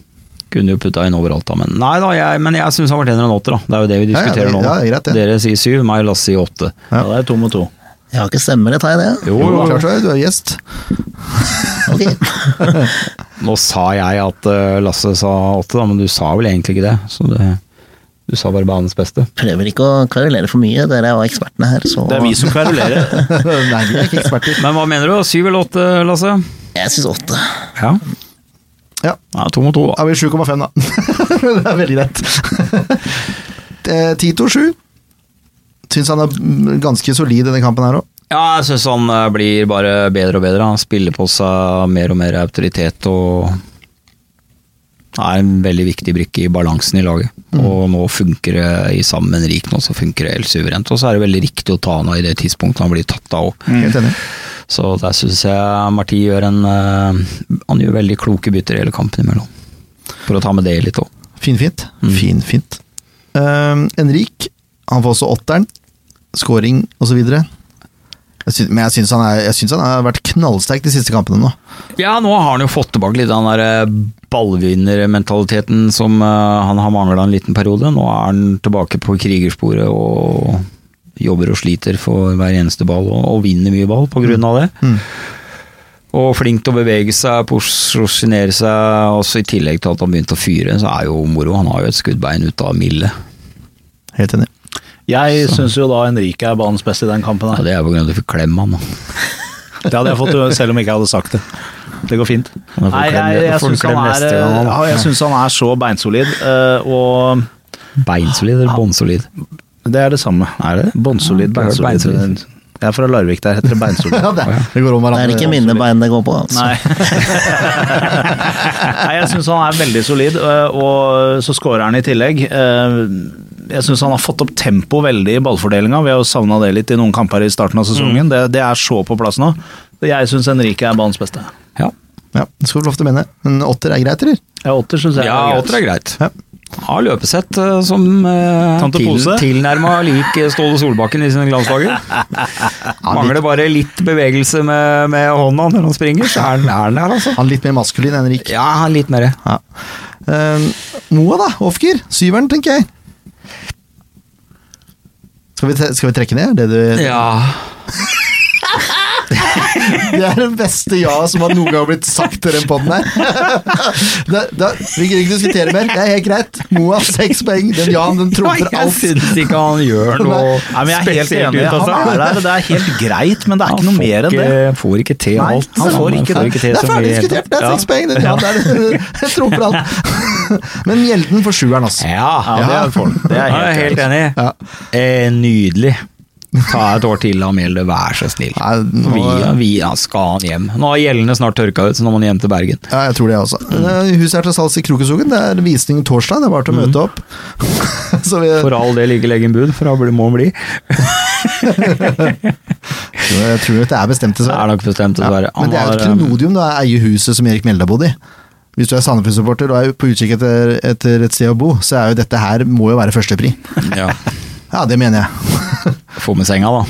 B: Kunne jo putta inn overalt, da. Men nei da, jeg, men jeg syns han fortjener en åtter, da. Det er jo det vi
A: Ja, ja,
B: diskuterer
A: det-
B: nå. da.
A: ja, det er greit, det.
B: Dere sier syv, meg og Lasse sier åtte.
A: Ja.
D: Ja, det er to mot to.
C: Jeg har ikke stemmerett, har jeg det?
B: Jo, jo,
A: Klart du er, du er gjest.
C: Ok.
B: Nå sa jeg at eh, Lasse sa åtte, da, men du sa vel egentlig ikke det. Så det, du sa bare banens beste.
C: Prøver ikke å kverulere for mye, dere er jo ekspertene her, så
D: Det er vi som kverulerer.
A: Nei, vi er ikke eksperter.
B: Men hva mener du? Syv eller åtte, Lasse?
C: Jeg syns åtte.
B: Ja.
A: Ja,
B: ja to mot to, da.
A: da blir det 7,5, da. det er veldig greit. Eh, Tito 7. Syns han er mm, ganske solid i denne kampen her òg.
B: Ja, jeg syns han eh, blir bare bedre og bedre. Han spiller på seg mer og mer autoritet og er en veldig viktig brikke i balansen i laget. Og nå funker det i sammen rik nå, så funker det helt suverent. Og så er det veldig riktig å ta han av i det tidspunktet han blir tatt av òg.
A: Helt enig.
B: Så der syns jeg Marti gjør en eh, Han gjør veldig kloke bytter i hele kampen imellom. For å ta med det litt òg.
A: Finfint.
B: Mm.
A: Finfint. Um, Enrik, han får også åtteren. Scoring osv. Men jeg syns han, er- jeg syns han har vært knallsterk de siste kampene nå.
B: Ja, nå har han jo fått tilbake litt av den der eh, ballvinnermentaliteten som eh, han har mangla en liten periode. Nå er han tilbake på krigersporet og jobber og sliter for hver eneste ball, og, og vinner mye ball på grunn av det.
A: Mm.
B: Og flink til å bevege seg, posisjonere seg, også i tillegg til at han begynte å fyre, så er jo moro. Han har jo et skuddbein ut av milde.
A: Helt enig.
D: Jeg syns jo da Henrike er banens beste i den kampen
B: Ja,
D: her.
B: det er på grunn av at du fikk klem han, da.
D: Det hadde jeg fått eh, selv om jeg ikke hadde sagt det. Det går fint.
B: får
D: Nei,
B: klem-
D: jeg, jeg
B: får
D: syns
B: klem
D: han,
B: neste
D: er, eh,
B: gang,
D: ja,
B: da.
D: jeg synes han er så beinsolid, eh, og
B: Beinsolid eller bånnsolid?
D: det er det samme.
B: Er det det?
D: Bånnsolid,
B: Ja, jeg har hørt
D: beinsolid.
B: beinsolid.
D: Jeg er fra Larvik, der heter det beinsol.
A: Ja, det, det går om
C: Det
A: hverandre.
C: er ikke mine bein det går på, altså.
D: Nei. Nei, jeg syns han er veldig solid, øh, og så scorer han i tillegg. Øh, Jeg syns han har fått opp tempo veldig i ballfordelinga. Vi har jo savna det litt i noen kamper i starten av sesongen. Det, det er så på plass nå. Jeg syns Henrike er banens beste.
B: Ja,
A: Ja, det skal du lov til å mene. Men åtter er greit, eller?
D: Ja, åtter syns jeg
B: ja
D: er
B: åtter er greit.
A: Ja.
B: Har løpesett eh, som eh,
D: Tante Pose.
B: tilnærma lik eh, Ståle Solbakken i sine glansdager. Mangler bare litt bevegelse med, med hånda når han springer, så er han- er han der, altså.
A: Han er litt mer maskulin enn Henrik.
B: Ja, litt mer.
A: Ja. Eh, Moa, da. Ofker. Syveren, tenker jeg. Skal vi, tre- skal vi trekke ned? Det, du,
B: Ja.
A: det er den beste ja som har noen gang blitt sagt til den poden her. Da, da, vi gidder ikke diskutere mer. Det er helt greit. Moa, seks poeng. Den ja-en, den trumfer
B: jeg
A: alt.
B: syns ikke han gjør noe
D: Nei, men jeg er helt
B: spesielt
D: enig.
B: ut altså. av seg.
D: Han er der, og det er helt greit, men det er ikke noe mer enn det.
B: Han får ikke til
D: Nei,
B: alt.
D: han får ikke det.
A: Det
B: til
A: er
B: så mye
A: ferdig
B: i det hele
A: diskutert. Det er
B: tatt.
A: seks poeng. Den ja-en der den trumfer alt. Men Gjelden får sjueren, altså.
B: Ja,
D: Ja, det er for- det er
B: jeg er
D: helt
B: helt enig.
A: Ja.
B: Eh, nydelig. Ta et år til av Mjelde, vær så snill.
A: Nei, nå-
B: Vi, vi ja, skal han hjem. Nå har gjellene snart tørka ut, så nå må han hjem til Bergen.
A: Ja, jeg tror det også.
B: Mm.
A: Eh, Huset er til salgs i Krokeskogen. Det er visning torsdag. Det er bare til å møte opp. Så vi,
B: Mm. For all del, ikke legg inn bud, for da blir- må han bli.
A: jeg tror at det er bestemt,
B: Det er
A: dessverre.
B: nok bestemt, dessverre.
A: Men det er jo et klenodium da, å eie huset som Erik Mjelde har bodd i. Hvis du er Sandefjord-supporter og er på utkikk etter, etter et sted å bo, så er jo dette her må jo være førstepri.
B: eh, Ja,
A: Ja, det mener jeg.
B: Få med senga, da.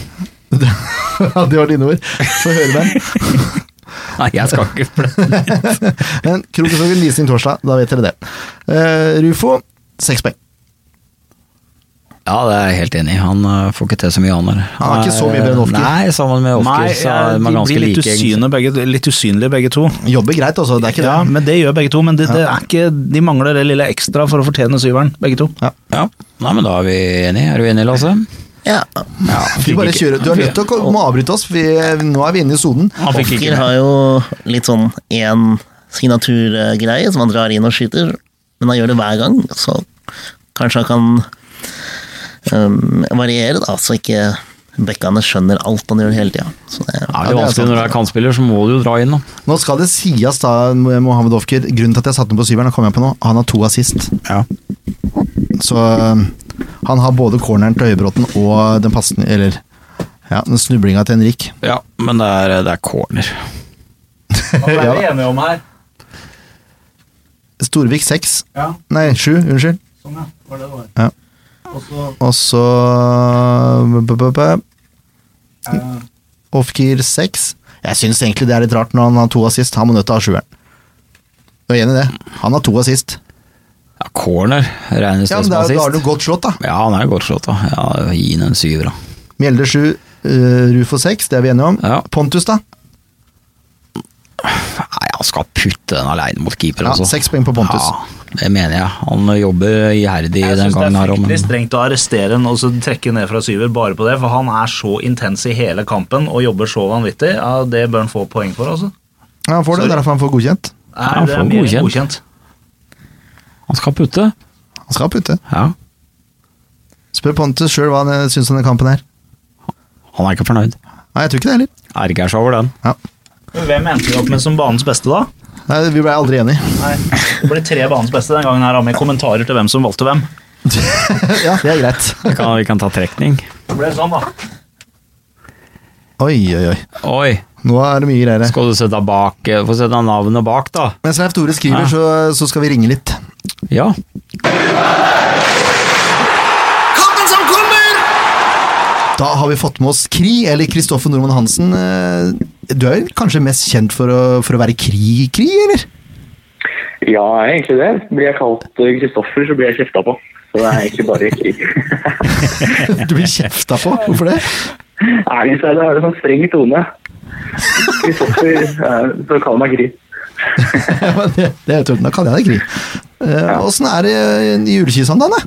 A: Ja, det var dine ord. Få høre dem.
B: Nei, jeg skal ikke for det.
A: Men Krokeskogen visning torsdag, da vet dere det. Eh, Rufo, seks poeng.
B: Ja, det er jeg helt enig i. Han eh, får ikke til så mye annet.
A: Han er ikke så mye bedre enn Ofker.
B: Nei, sammen med Ofker
D: Nei,
B: så er man
D: de
B: ganske
D: blir litt,
B: like. egentlig.
D: usynlige begge, litt usynlige begge to.
A: Jobber greit, altså. Det er ikke
D: Ja,
A: det.
D: men Det gjør begge to, men det, det er ikke, de mangler det lille ekstra for å fortjene syveren, begge to.
B: Ja, Nei, men da er vi enige. Er du enig, Lasse?
C: Ja,
B: Ja,
A: Vi bare kjører. Du er nødt til å ko- må avbryte oss, for vi, nå er vi inne i sonen.
B: Han fikk ikke
C: Ofker har jo litt sånn én signaturgreie som han drar inn og skyter, men han gjør det hver gang, så kanskje han kan øhm, variere, da, så ikke bekkene skjønner alt han gjør hele tida. Så det
B: Ja,
A: Ja, det
B: det er
A: er
B: vanskelig
A: sant.
B: når du er kantspiller, så må du jo dra inn, da.
A: Nå skal det sies da, Mohammed Ofker, grunnen til at jeg satte den på syveren, og kom jeg på nå, han har to assist. Så øh, han har både corneren til Høybråten og den passen, eller ja, den snublinga til Henrik.
B: Ja, men det er, det er corner.
D: Hva
A: er vi
D: enige om her?
A: Storvik seks,
D: Ja,
A: nei sju, unnskyld.
D: sånn ja. Var det det var.
A: Ja.
D: Og så
A: Og så b- b- b- b-
D: Eh.
A: Ofker seks. Jeg syns egentlig det er litt rart når han har to assist, han må nødt til å ha sjueren. Du er enig i det? Han har to assist.
B: Ja, corner regnes
A: Ja,
B: det
A: men
B: som
A: da, da har du
B: assist.
A: godt slått, da.
B: Ja, han er godt slått, da. Ja, Gi ham en syver, da.
A: Mjelde sju, øh, Rufo seks, det er vi enige om.
B: Ja.
A: Pontus, da?
B: Nei, han skal putte den aleine mot keeper,
A: Ja,
B: altså.
A: seks poeng på Pontus.
B: Ja, det mener jeg. Han jobber iherdig
D: Jeg
B: den
D: syns det
B: gangen her
D: er
B: òg,
D: fryktelig
B: men
D: strengt å arrestere en og så trekke ned fra syver bare på det, for han er så intens i hele kampen og jobber så vanvittig. Ja, Det bør han få poeng for, altså.
A: Ja, han får det, det er derfor han får godkjent.
D: Nei,
B: han
D: det
B: får
D: er mer enn
B: godkjent.
D: godkjent.
B: han skal putte.
A: Han skal putte.
B: Ja.
A: Spør Pontus sjøl hva han eh, syns om denne kampen her.
B: Han er ikke fornøyd.
A: Nei, jeg tror ikke det heller.
B: Erger seg over den.
D: Men Hvem endte vi opp med som banens beste, da?
A: Nei, vi ble aldri enige.
D: Nei. Det ble tre banens beste den gangen her, da, med kommentarer til hvem som valgte hvem.
A: ja, det er greit.
B: Vi kan, vi kan ta trekning.
D: Det ble sånn, da.
A: Oi, oi, oi.
B: Oi,
A: Nå er det mye greier. her.
B: skal du sette deg bak eh, Få sette deg navnet bak, da.
A: Mens Leif Tore skriver,
B: Ja.
A: så, så skal vi ringe litt.
B: Ja.
A: Da har vi fått med oss Kri, eller Kristoffer Nordmann Hansen. Eh, Du er vel kanskje mest kjent for å, for å være Kri-Kri, eller?
E: Ja, jeg er egentlig det. Blir jeg kalt eh, Kristoffer, så blir jeg kjefta på. Så det er egentlig bare krig.
A: Du blir kjefta på, hvorfor det?
E: Ærlig talt har det sånn streng tone. Kristoffer, eh, så kall meg Gry.
A: Ja, men det, det er jo tull. Da kaller jeg deg Kri. Eh, Åssen er det i julekisene, da?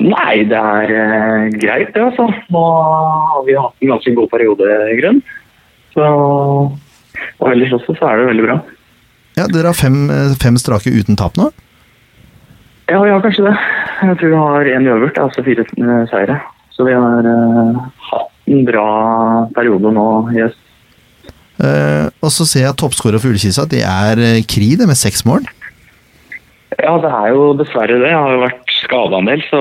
E: Nei, det er eh, greit det, altså. Nå har vi hatt en ganske god periode grønn. Så Og ellers også så er det veldig bra.
A: Ja, dere har fem, eh, fem strake uten tap nå.
E: Ja, vi har kanskje det. Jeg tror vi har én uavgjort, altså fire eh, seire. Så vi har eh, hatt en bra periode nå. Yes.
A: Eh, og så ser jeg at toppskårer for Ullkisa, det er eh, Kri, det, med seks mål.
E: Ja, det er jo dessverre det. Jeg har jo vært skada en del, så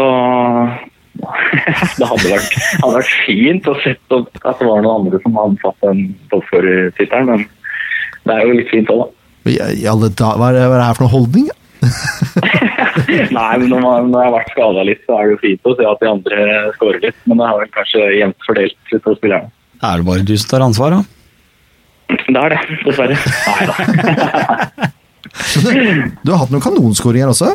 E: det hadde vært, hadde vært fint å sett opp at det var noen andre som hadde fått den toppskårertittelen, men det er jo litt fint òg, da.
A: I, i alle da hva, er det, hva er det her for noe holdning?
E: Nei, men når, man, når jeg har vært skada litt, så er det jo fint å se at de andre skårer litt. Men det er vel kanskje jevnt fordelt litt hos spillerne.
B: Er det bare du som tar ansvar, da?
E: Det er det, dessverre. Nei da.
A: Du har hatt noen kanonskåringer også?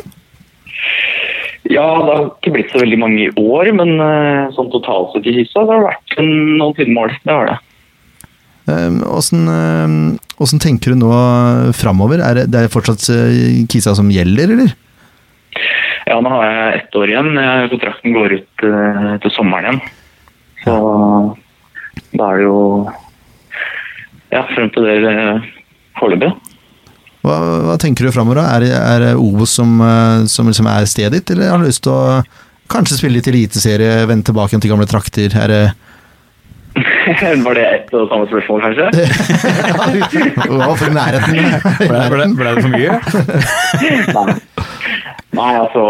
E: Ja, det har ikke blitt så veldig mange i år, men eh, sånn totalt sett i Hyssa, det har vært en, noen fine mål. Det har det.
A: Ehm, Åssen ehm, tenker du nå framover? Er det, det er fortsatt eh, Kisa som gjelder, eller?
E: Ja, nå har jeg ett år igjen. Jeg- Kontrakten går ut eh, til sommeren igjen. Så da er det jo ja, frem til det eh, foreløpig.
A: Hva, hva tenker du framover? da? Er, det- er det Obos som, eh, som liksom er stedet ditt, eller har du lyst til å kanskje spille litt eliteserie, vende tilbake igjen til gamle trakter? Er det
E: Var det ett og samme spørsmål, kanskje?
A: Hva for
B: Ble,
A: nærheten?
B: ble, ble det for mye?
E: Nei. Nei, altså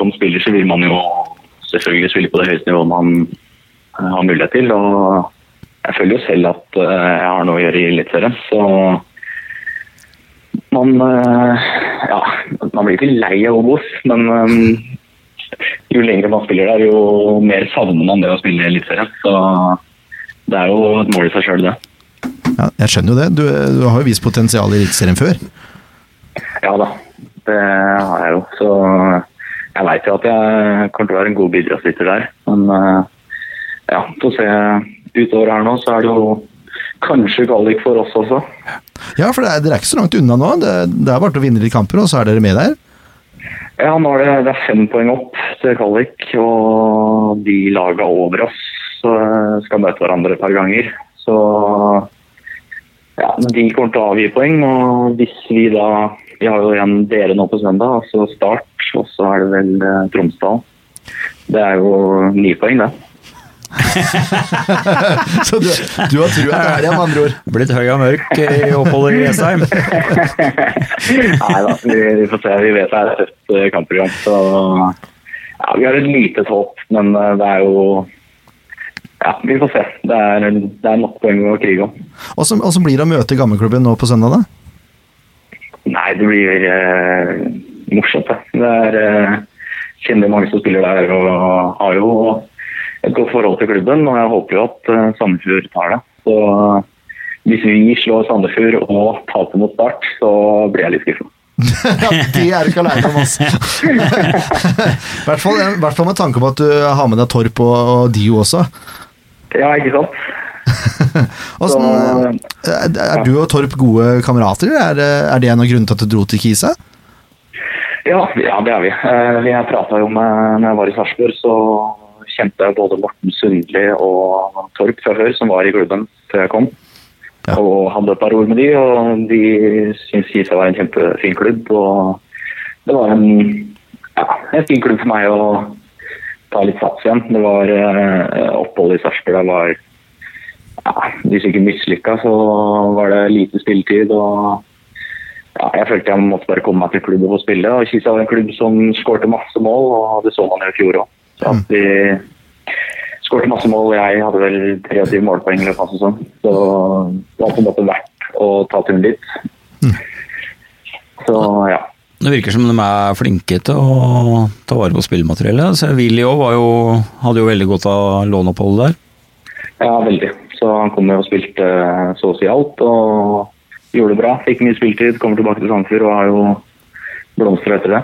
E: som spiller så vil man jo selvfølgelig spille på det høyeste nivået man eh, har mulighet til. Og jeg føler jo selv at eh, jeg har noe å gjøre i Eliteserien, så man eh, Ja, man blir ikke lei av Obos, men eh, jo lenger man spiller der, jo mer savner man det å spille i Eliteserien. Så det er jo et mål i seg sjøl, det.
A: Ja, jeg skjønner jo det. Du, du har jo vist potensial i Eliteserien før.
E: Ja da, det har jeg jo. Så jeg veit jo at jeg kommer til å være en god bidragsyter der. Men eh, ja, få se utover her nå, så er det jo kanskje gallik for oss også.
A: Ja, for det er, dere er ikke så langt unna nå. Det, det er bare til å vinne litt kamper, og så er dere med der.
E: Ja, nå er det, det er fem poeng opp til gallik, og de laga over oss eh, skal møte hverandre et par ganger. Så ja, de kommer til å avgi poeng, og hvis vi da Vi har jo igjen dere nå på søndag, altså Start, og så er det vel eh, Tromsdal. Det er jo ni poeng, det.
A: Så du, du har trua der, ja, med andre ord.
B: Blitt høy og mørk i oppholdet i Jessheim.
E: Nei da, vi, vi får se. Vi vet det er et tøft eh, kampprogram. Så ja, vi har et lite håp, men eh, det er jo Ja, vi får se. Det er, det er nok poeng å krige om.
A: Og så og så blir det å møte gammelklubben nå på søndag, da?
E: Nei, det blir eh, morsomt, det. Det er eh, kjenner mange som spiller der og har jo et godt forhold til klubben. Og jeg håper jo at eh, Sandefjord tar det. Så hvis vi slår Sandefjord og taper mot Start, så blir jeg litt skuffa.
A: ja, det er du ikke aleine om, altså. I hvert fall- i hvert fall med tanke på at du har med deg Torp og, og Dio også.
E: Ja, ikke sant?
A: Åssen,
E: Så-
A: eh, er du og Torp gode kamerater? eller Er, det- er det en av grunnene til at du dro til Kisa?
E: Ja, ja, det er vi. Eh, Jeg prata jo med når jeg var i Sarpsborg, så kjente jeg både Morten Sundli og Torp fra før, som var i klubben før jeg kom.
A: Ja.
E: Og hadde et par ord med de, og de syntes Kisa var en kjempefin klubb. Og det var en, ja, en fin klubb for meg å ta litt sats igjen. Det var eh, oppholdet i Sarpsborg der var ja, Hvis ikke mislykka, så var det lite spilletid. og ja, jeg følte jeg måtte bare komme meg til klubben og få spille. Og Kisa var en klubb som skårte masse mål, og det så man jo i fjor òg.
A: Mm.
E: Vi skårte masse mål, og jeg hadde vel 23 målpoeng i løpet av sesongen. Så det var på en måte verdt å ta turen dit. Så ja.
B: Det virker som de er flinke til å ta vare på spillemateriellet. Så Willy òg var jo Hadde jo veldig godt av låneoppholdet der.
E: Ja, veldig. Så han kom jo og spilte eh, så å si alt, og gjorde det bra. Fikk mye spiltid, kommer tilbake til Sandefjord og har jo blomstra etter det.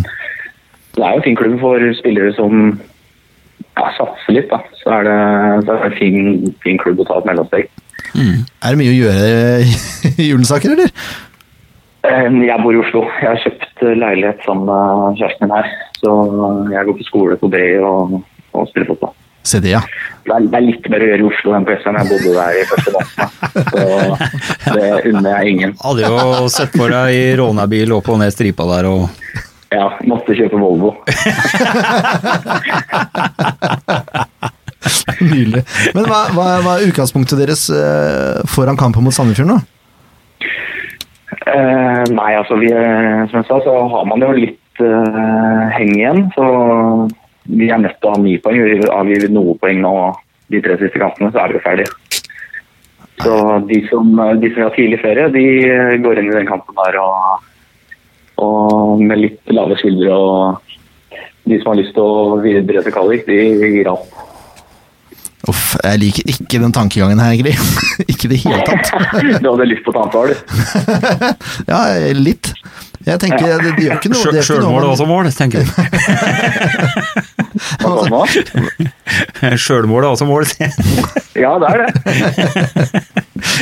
E: Det er jo en fin klubb for spillere som ja, satser litt, da. Så er det, så er det en fin, fin klubb å ta et mellomsteg.
A: Er det mye å gjøre i julesaker, eller?
E: Eh, Jeg bor i Oslo. Jeg har kjøpt eh, leilighet sammen med kjæresten min her. Så eh, jeg går på skole på Brei og, og spiller fotball.
A: Se det, ja.
E: Det er, det er litt mer å gjøre i Oslo enn på Østlandet. Jeg bodde der i første måned. Så det unner jeg ingen.
B: Hadde jo sett for deg i rånebil opp og ned stripa der og
E: Ja, måtte kjøpe Volvo.
A: Nydelig. Men hva, hva, hva er utgangspunktet deres eh, foran kampen mot Sandefjord nå?
E: Eh, nei, altså vi, eh, som jeg sa, så har man jo litt eh, heng igjen. Så vi er nødt til å ha ni poeng. Vi avgir vi noe poeng nå de tre siste kampene, så er vi jo ferdige. Så de som, eh, de som har tidlig ferie, de eh, går inn i den kampen der og, og med litt lave skuldre. Og de som har lyst til å videre til kvalik, de gir alt.
A: Uff, jeg liker ikke den tankegangen her, Gry. ikke i det hele tatt.
E: du hadde lyst på et annet år, du.
A: ja, litt. Jeg tenker, det, det gjør ikke noe. det gjør ikke noe om-
B: Sjølmål er også mål, tenker du.
E: Hva sa du altså nå?
B: Sjølmål er også mål, sier jeg.
E: Ja, det er det.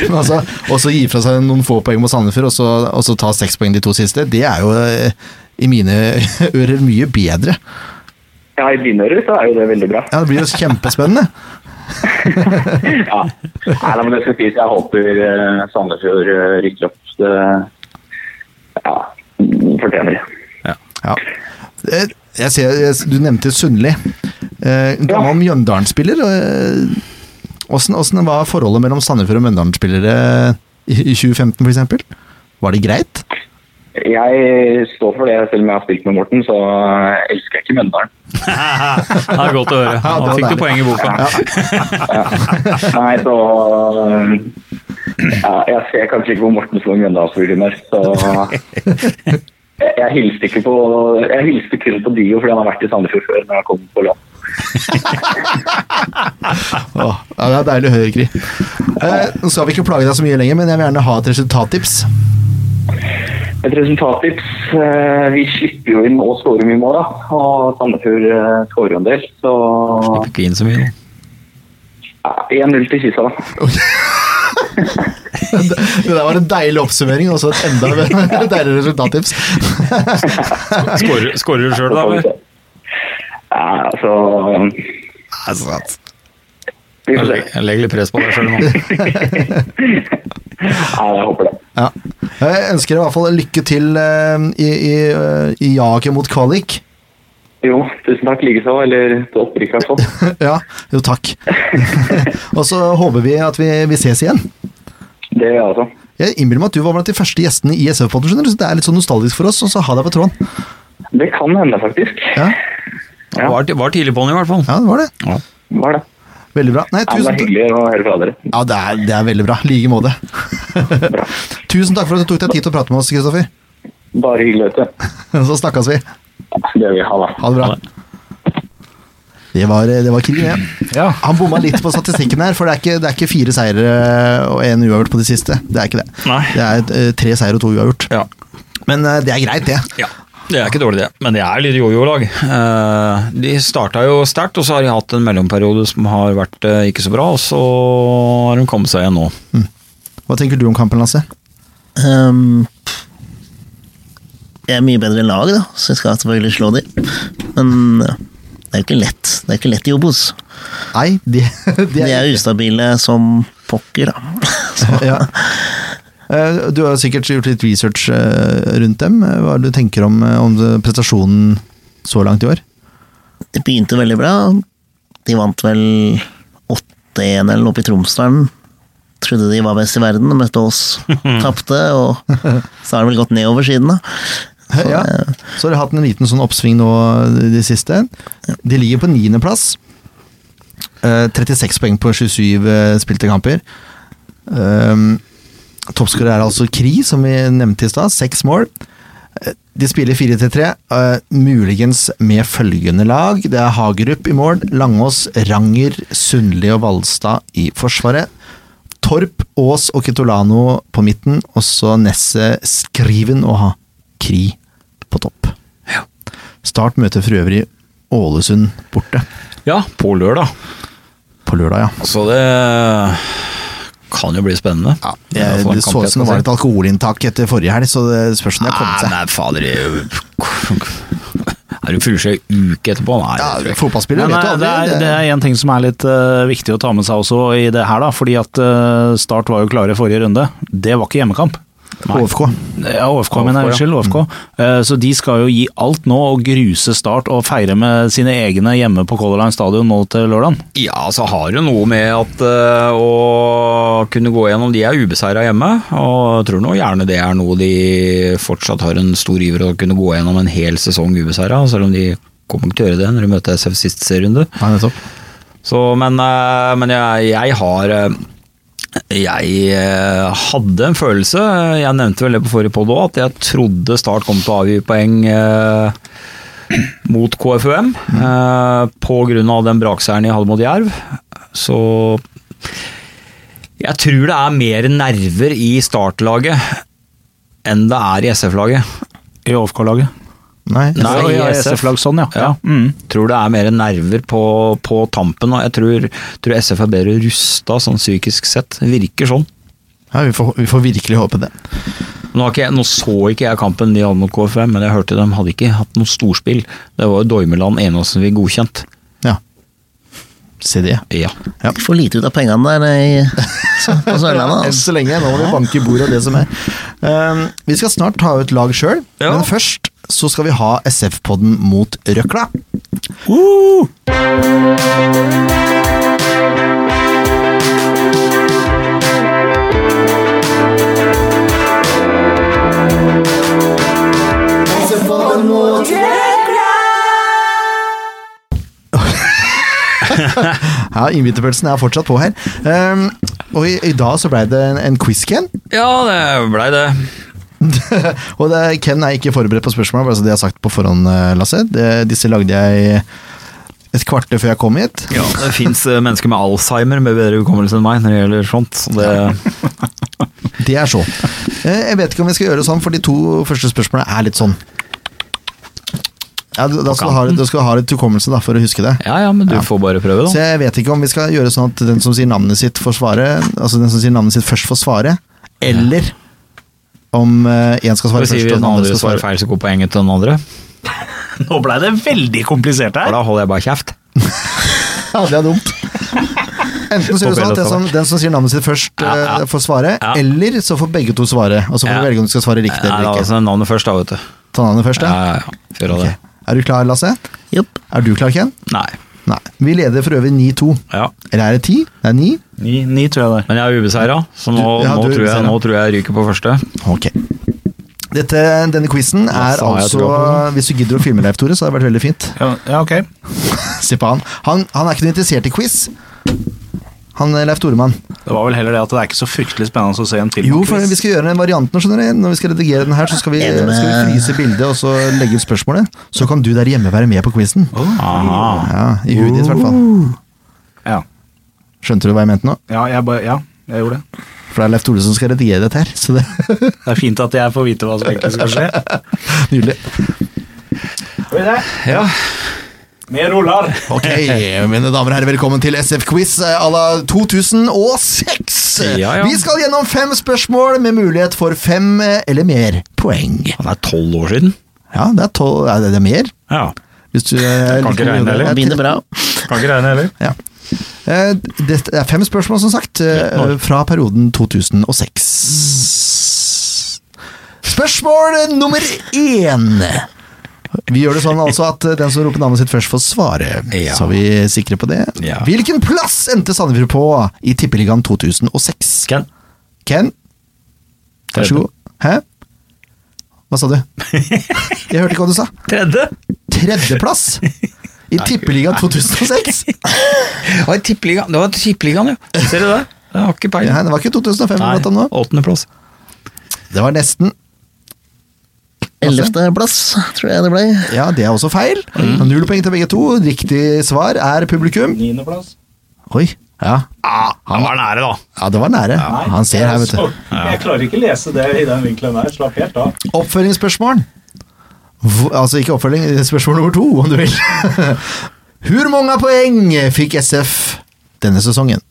A: Men altså, og så gi fra seg noen få poeng mot Sandefjord, og så, og så ta seks poeng de to siste, det er jo eh, i mine ører mye bedre.
E: Ja, I dine ører så er jo det veldig bra.
A: Ja, Det blir jo kjempespennende.
E: Ja. Nei, nei, men det skal sies. Jeg håper eh, Sandefjord eh, rykker opp. Det ja, fortjener det.
A: Ja. Eh, Jeg ser, jeg- du nevnte Sundli. Eh, Gammel Mjøndalen-spiller. eh, Åssen var forholdet mellom Sandefjord og Mjøndalen-spillere i i 2015 f.eks.? Var det greit?
E: Jeg står for det, selv om jeg har spilt med Morten, så eh, elsker jeg ikke Mjøndalen.
B: Det er godt å høre.
A: Ja, det
B: Nå
A: var
B: fikk du
A: deilig.
B: poeng i boka.
E: Nei, så eh, ja, Jeg ser kanskje ikke på Morten som en Mjøndalsfugler, så eh, jeg, jeg hilste ikke på Jeg hilste kun på Dio fordi han har vært i Sandefjord før når han kom på lån.
A: Åh, ja, det er deilig å høre, Kri. Eh, Nå skal vi ikke plage deg så mye lenger, men jeg vil gjerne ha et resultattips.
E: Et resultattips. eh, Vi slipper jo inn og skårer mye mål, da. Og Sandefjord eh, skårer jo en del. Så
B: Slipper ikke inn så mye. nå.
E: ja, 1-0 til Kisa, da.
A: Det der var en deilig oppsummering, og så et enda deiligere resultattips.
B: Skårer- Skårer du sjøl, da?
E: Så får vi
B: eller?
E: se. Ja, altså Vi får se.
B: Jeg legger litt press på deg sjøl nå.
E: Ja, jeg håper det.
A: Ja. Jeg ønsker deg i hvert fall lykke til eh, i, i, eh, i jaget mot kvalik.
E: Jo, tusen takk likeså. Eller til opprykk, altså. i hvert fall.
A: Ja, jo takk. og så håper vi at vi, vi ses igjen.
E: Det gjør jeg altså.
A: Jeg innbiller meg at du var blant de første gjestene i SF-podden, skjønner du, så det er litt sånn nostalgisk for oss, og så ha deg på tråden.
E: Det kan hende, faktisk.
A: Ja,
E: Ja.
B: Var, var tidlig på'n, i hvert fall.
A: ja det var det.
E: Hva er det?
A: Veldig bra. Nei,
E: Ja, men det
A: tusen takk.
E: er hyggelig å høre fra dere.
A: Ja, det er, det er veldig bra. I like måte. tusen takk for at du tok deg tid til å prate med oss, Kristoffer.
E: Bare hyggelig, vet du.
A: Så snakkes vi.
E: Det vil vi ha, da.
A: Ha det bra. Det var, det var Kri, det.
D: Ja.
A: Han bomma litt på statistikken her, for det er ikke, det er ikke fire seire og én uavgjort på de siste. Det er ikke det.
B: Nei.
A: Det er eh, tre seire og to uavgjort.
B: Ja.
A: Men eh, det er greit, det.
B: Ja, det er ikke dårlig det, men det er litt jojo-lag. Eh, De starta jo sterkt, og så har de hatt en mellomperiode som har vært eh, ikke så bra, og så har de kommet seg igjen nå.
A: Hva tenker du om kampen, Lasse?
C: Ehm, jeg er mye bedre lag, da, så jeg skal selvfølgelig slå de. Men eh, det er jo ikke lett. Det er ikke lett altså. i Obos.
A: Nei, de, de
C: De
A: er,
C: er ustabile som pokker, da. Så,
A: ja. Eh, Du har jo sikkert gjort litt research eh, rundt dem. Eh, Hva er det du tenker om, eh, om det- prestasjonen så langt i år?
C: Det begynte veldig bra. De vant vel 8-1 eller noe oppe i Tromsdalen. Trodde de var best i verden, og møtte oss. Tapte, og så har det vel gått nedover siden, da. Så,
A: Ja.
C: eh,
A: Så har de hatt en liten sånn oppsving nå i det siste. De ligger på niendeplass. Eh, 36 poeng på 27 eh, spilte kamper. Um, Toppskårer er altså Kri, som vi nevnte i stad. Seks mål. Eh, De spiller 4-3-3, eh, muligens med følgende lag. Det er Hagerup i mål, Langås, Ranger, Sundli og Valstad i forsvaret. Torp, Aas og Kitolano på midten, og så Nesse, Skriven og ha Kri på topp. Start møter for øvrig Ålesund borte
B: Ja, på lørdag.
A: på lørdag, ja.
B: Så det kan jo bli spennende.
A: Jeg, Eh, det så ut som det var
B: altså.
A: et alkoholinntak etter forrige helg, så det spørs om det har kommet
B: Nei,
A: seg.
B: nei, fader det Er jo- Er du fullskjøy uke etterpå? Nei,
A: Ja,
B: det tror jeg ikke.
A: fotballspillere
D: Men,
A: vet du
D: eh, det,
A: aldri.
D: er, det er en ting som er litt eh, viktig å ta med seg også i det her, da, fordi at eh, Start var jo klare i forrige runde. Det var ikke hjemmekamp.
A: HFK.
D: Ja, OFK, mener jeg.
B: OFK, ja.
D: Unnskyld, OFK. Eh, Så de skal jo gi alt nå og gruse Start og feire med sine egne hjemme på Color Line Stadion nå til lørdag.
B: Ja, så har det noe med at eh, å kunne gå gjennom de er ubeseira hjemme. Og jeg tror nå gjerne det er noe de fortsatt har en stor iver å kunne gå gjennom en hel sesong ubeseira, selv om de kommer ikke til å gjøre det når de møter SF sist serierunde.
A: Nei, nettopp.
B: Så, men eh, men jeg, jeg har eh, Jeg eh, hadde en følelse, eh, jeg nevnte vel det på forrige podd òg, at jeg trodde Start kom til å avgi poeng eh, mot KFUM. Eh, på grunn av den brakseieren de hadde mot Jerv. Så jeg tror det er mer nerver i Start-laget enn det er i SF-laget.
D: I OFK-laget.
A: Nei.
B: Nei,
D: Så, ja,
B: i SF.
D: SF-lag sånn, ja.
B: Ja.
D: ja. Mm.
B: tror det er mer nerver på, på tampen. Og jeg tror, tror SF er bedre rusta sånn psykisk sett. Virker sånn.
A: Ja, vi, får, vi får virkelig håpe det.
B: Nå, har ikke jeg, nå så ikke jeg kampen de hadde mot KFM, men jeg hørte dem hadde ikke hatt noe storspill. Det var jo Dormeland eneste vi godkjent.
A: Ja. Se det.
B: Ja.
C: De får lite ut av pengene der eh, i, på
A: Enn
C: Sørlandet. Altså.
A: så lenge. Nå må vi banke i bordet og det som er. Ehm, vi skal snart ta ut lag sjøl,
B: Ja.
A: men først så skal vi ha SF-podden mot røkla. Ja, Innbytterpølsen er fortsatt på her. Ehm, og i, i dag så blei det en, en quiz, Ken.
B: ja, det blei det.
A: og det, Ken er ikke forberedt på spørsmål, bare så det jeg har sagt på forhånd, eh, Lasse. Det, disse lagde jeg et kvarter før jeg kom hit.
B: Ja, det fins mennesker med alzheimer med bedre hukommelse enn meg når det gjelder sånt. Så det,
A: Det er så. Eh, Jeg vet ikke om vi skal gjøre det sånn, for de to første spørsmålene er litt sånn. Ja, du- da skal du ha, da skal du ha litt hukommelse da, for å huske det.
B: ja ja, men du
A: Ja.
B: får bare prøve,
A: Så
B: da.
A: jeg vet ikke om vi skal gjøre sånn at den som sier navnet sitt får svare, altså den som sier navnet sitt først får svare, eller om eh, en skal svare først
B: Så sier vi
A: og
B: den
A: den andre
B: andre
A: skal
B: svarer
A: svare.
B: feil, så går poenget til den andre.
D: Nå blei det veldig komplisert
B: For da holder jeg bare kjeft.
A: Ja, det er dumt. Enten så gjør vi sånn at den som, den som sier navnet sitt først,
B: Ja, ja.
A: eh, får svare,
B: Ja.
A: eller så får begge to svare, og så får
B: Ja.
A: du velge om du skal svare riktig
B: Ja,
A: eller
B: da,
A: ikke.
B: altså, navnet først, da, vet du.
A: Ta navnet først,
B: Ja,
A: ja.
B: ja, ja. Fyr av
A: Ok.
B: det.
A: Er du klar, Lasse?
C: Jopp.
A: Er du klar, Ken?
B: Nei.
A: Nei. Vi leder for øvrig 9-2.
B: Ja.
A: Eller er det 10? Det er 9?
D: Ni, ni, tror jeg det. er.
B: Men jeg er ubeseira, så nå,
A: Du- ja, du er
B: nå, tror jeg,
A: ubeseira.
B: nå tror jeg jeg ryker på første.
A: Ok. Dette, denne quizen er
B: Lasse har jeg
A: altså
B: trua på.
A: Hvis du gidder å filme Leif Tore, så hadde det vært veldig fint.
D: Ja, ja, ok.
A: Se på han. han. Han er ikke noe interessert i quiz. Han eh, Leif Toremann.
D: Det var vel heller det at det er ikke så fryktelig spennende å se en film.
A: Jo, for vi skal gjøre den varianten. skjønner du. Når vi skal redigere den her, så skal vi,
C: Enig med-
A: skal vi fryse bildet og så legge ut spørsmålet. Så kan du der hjemme være med på quizen.
B: Aha.
A: Ja, I huet ditt, i hvert fall.
D: Ja.
A: Skjønte du hva jeg mente nå?
D: Ja, jeg bare, ja, jeg gjorde det.
A: For det er Leif Tore som skal redigere dette her. Så det
D: Det er fint at jeg får vite hva som egentlig skal skje.
A: Nydelig.
B: Ja.
D: Mer ruller!
A: Ok, mine damer og herrer, velkommen til SF-quiz eh, à la 2006.
B: Ja, ja.
A: Vi skal gjennom fem spørsmål med mulighet for fem eh, eller mer poeng.
B: Det er tolv år siden.
A: Ja, det er, tolv, er det det er mer.
B: Ja.
A: Hvis du, eh, jeg
B: kan ikke regne, eller?
C: Det begynner bra.
B: Kan ikke regne heller.
A: Ja. Eh, Det det er fem spørsmål, som sagt, eh,
B: når?
A: fra perioden 2006. Spørsmål nummer én. Vi gjør det sånn altså at eh, den som roper navnet sitt først, får svare.
B: Ja.
A: Så er vi sikre på det.
B: Ja.
A: Hvilken plass endte Sandefjord på i Tippeligaen 2006?
B: Ken.
A: Ken, vær så god. Hæ? Hva sa du? Jeg hørte ikke hva du sa.
B: Tredje?
A: Tredjeplass i Tippeligaen 2006?
B: Det var tippeligaen, det var tippeligaen, ja. Ser du det? Jeg har ikke
A: Nei,
B: peiling.
A: det var ikke 2005 vi pratet om nå.
B: åttendeplass.
A: Det var nesten.
C: Ellevteplass, tror jeg det ble.
A: Ja, det er også feil.
B: Mm.
A: Null poeng til begge to. Riktig svar er publikum.
D: Niendeplass.
A: Oi. Ja,
B: Han var nære, da.
A: ja det var nære. Han ser her, vet du.
D: Jeg klarer ikke lese det i den vinkelen der. Slapp helt av.
A: Oppfølgingsspørsmål. Hvor- Altså ikke oppfølging, spørsmål nummer to, om du vil. Hvor mange poeng fikk SF denne sesongen?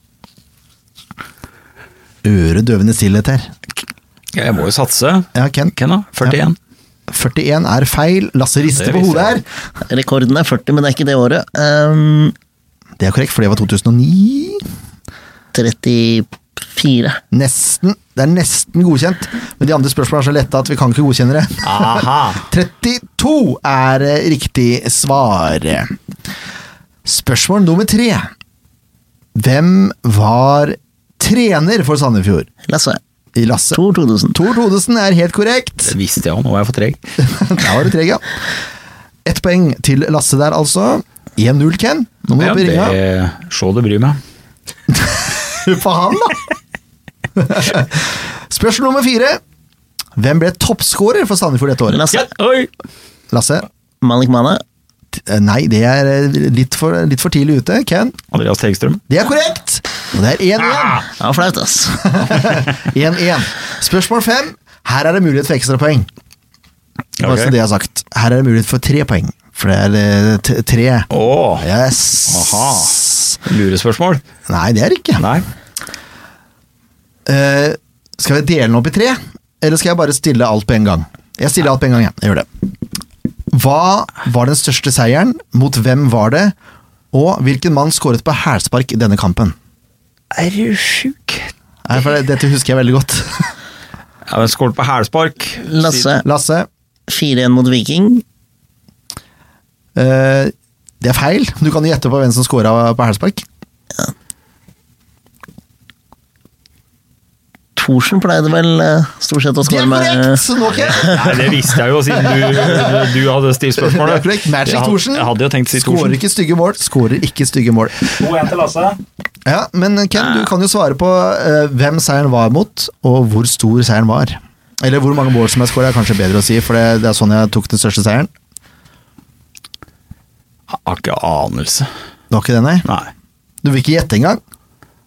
A: Øredøvende stillhet her.
B: Jeg må jo satse.
A: Ja, Ken.
B: Ken, da? 41.
A: 41 er feil. Lasse rister
B: Det
A: på hodet
B: visste
A: her.
B: jeg.
C: Rekorden er 40, men det er ikke det året. Ehm,
A: Det er korrekt, for det var 2009.
C: 30 Fire.
A: Nesten. Det er nesten godkjent, men de andre spørsmålene er så lette at vi kan ikke godkjenne det.
D: Aha.
A: 32 er eh, riktig svar. Spørsmål nummer tre. Hvem var trener for Sandefjord?
C: Lasse.
A: I Lasse.
C: Tor Todesen.
A: Tor Thodesen er helt korrekt.
B: Det visste jeg jo, nå var jeg for treg.
A: Der var du treg, ja. Ett poeng til Lasse der, altså. 1-0, Ken. Nå må du
B: Ja,
A: opp i ringa.
B: det- Se det bryr meg.
A: For han, da! Spørsmål nummer fire. Hvem ble toppskårer for Sandefjord dette året?
C: Lasse.
B: Oi!
A: Lasse?
C: Malik Mane.
A: Eh, Nei, det er eh, litt for, litt for tidlig ute. Ken?
B: Andreas Tegstrøm.
A: Det er korrekt! Og det er
B: Ah.
A: 1-1.
C: Det var flaut, ass.
A: 1-1. Spørsmål fem. Her er det mulighet for ekstrapoeng. Bare så
B: Ok.
A: det er sagt. Her er det mulighet for tre poeng. For det er eh, t- tre.
B: Åh,
A: Yes.
B: Aha. lurespørsmål.
A: Nei, det er det ikke.
B: Nei.
A: Eh, skal vi dele den opp i tre, eller skal jeg bare stille alt på en gang? Jeg stiller alt på en gang, jeg. jeg gjør det. Hva var den største seieren? Mot hvem var det? Og hvilken mann skåret på hælspark i denne kampen?
B: Er du sjuk?
A: Nei, for det- Dette husker jeg veldig godt.
B: Ja, men skål på hælspark.
C: Lasse.
A: Lasse,
C: 4-1 mot Viking.
A: eh, det er feil. Du kan jo gjette på hvem som skåra på hælspark.
C: Thorsen pleide vel eh, stort sett å
A: Det er
C: skåre med
A: korrekt! Så nå ikke.
B: Nei, det visste jeg jo, siden du, du hadde stilt spørsmålet.
A: Det er korrekt. Magic
B: Jeg had-
A: Thorsen.
B: Jeg hadde jo tenkt å si
A: Skårer
B: Thorsen.
A: ikke stygge mål. Skårer ikke stygge mål.
D: 2-1 til Lasse.
A: Ja, Men Ken, du kan jo svare på eh, hvem seieren var mot, og hvor stor seieren var. Eller hvor mange mål som er skåra, er kanskje bedre å si, for det, det er sånn jeg tok den største seieren.
B: Jeg Har ikke anelse.
A: Det var ikke det, nei.
B: Nei.
A: Du vil ikke gjette engang?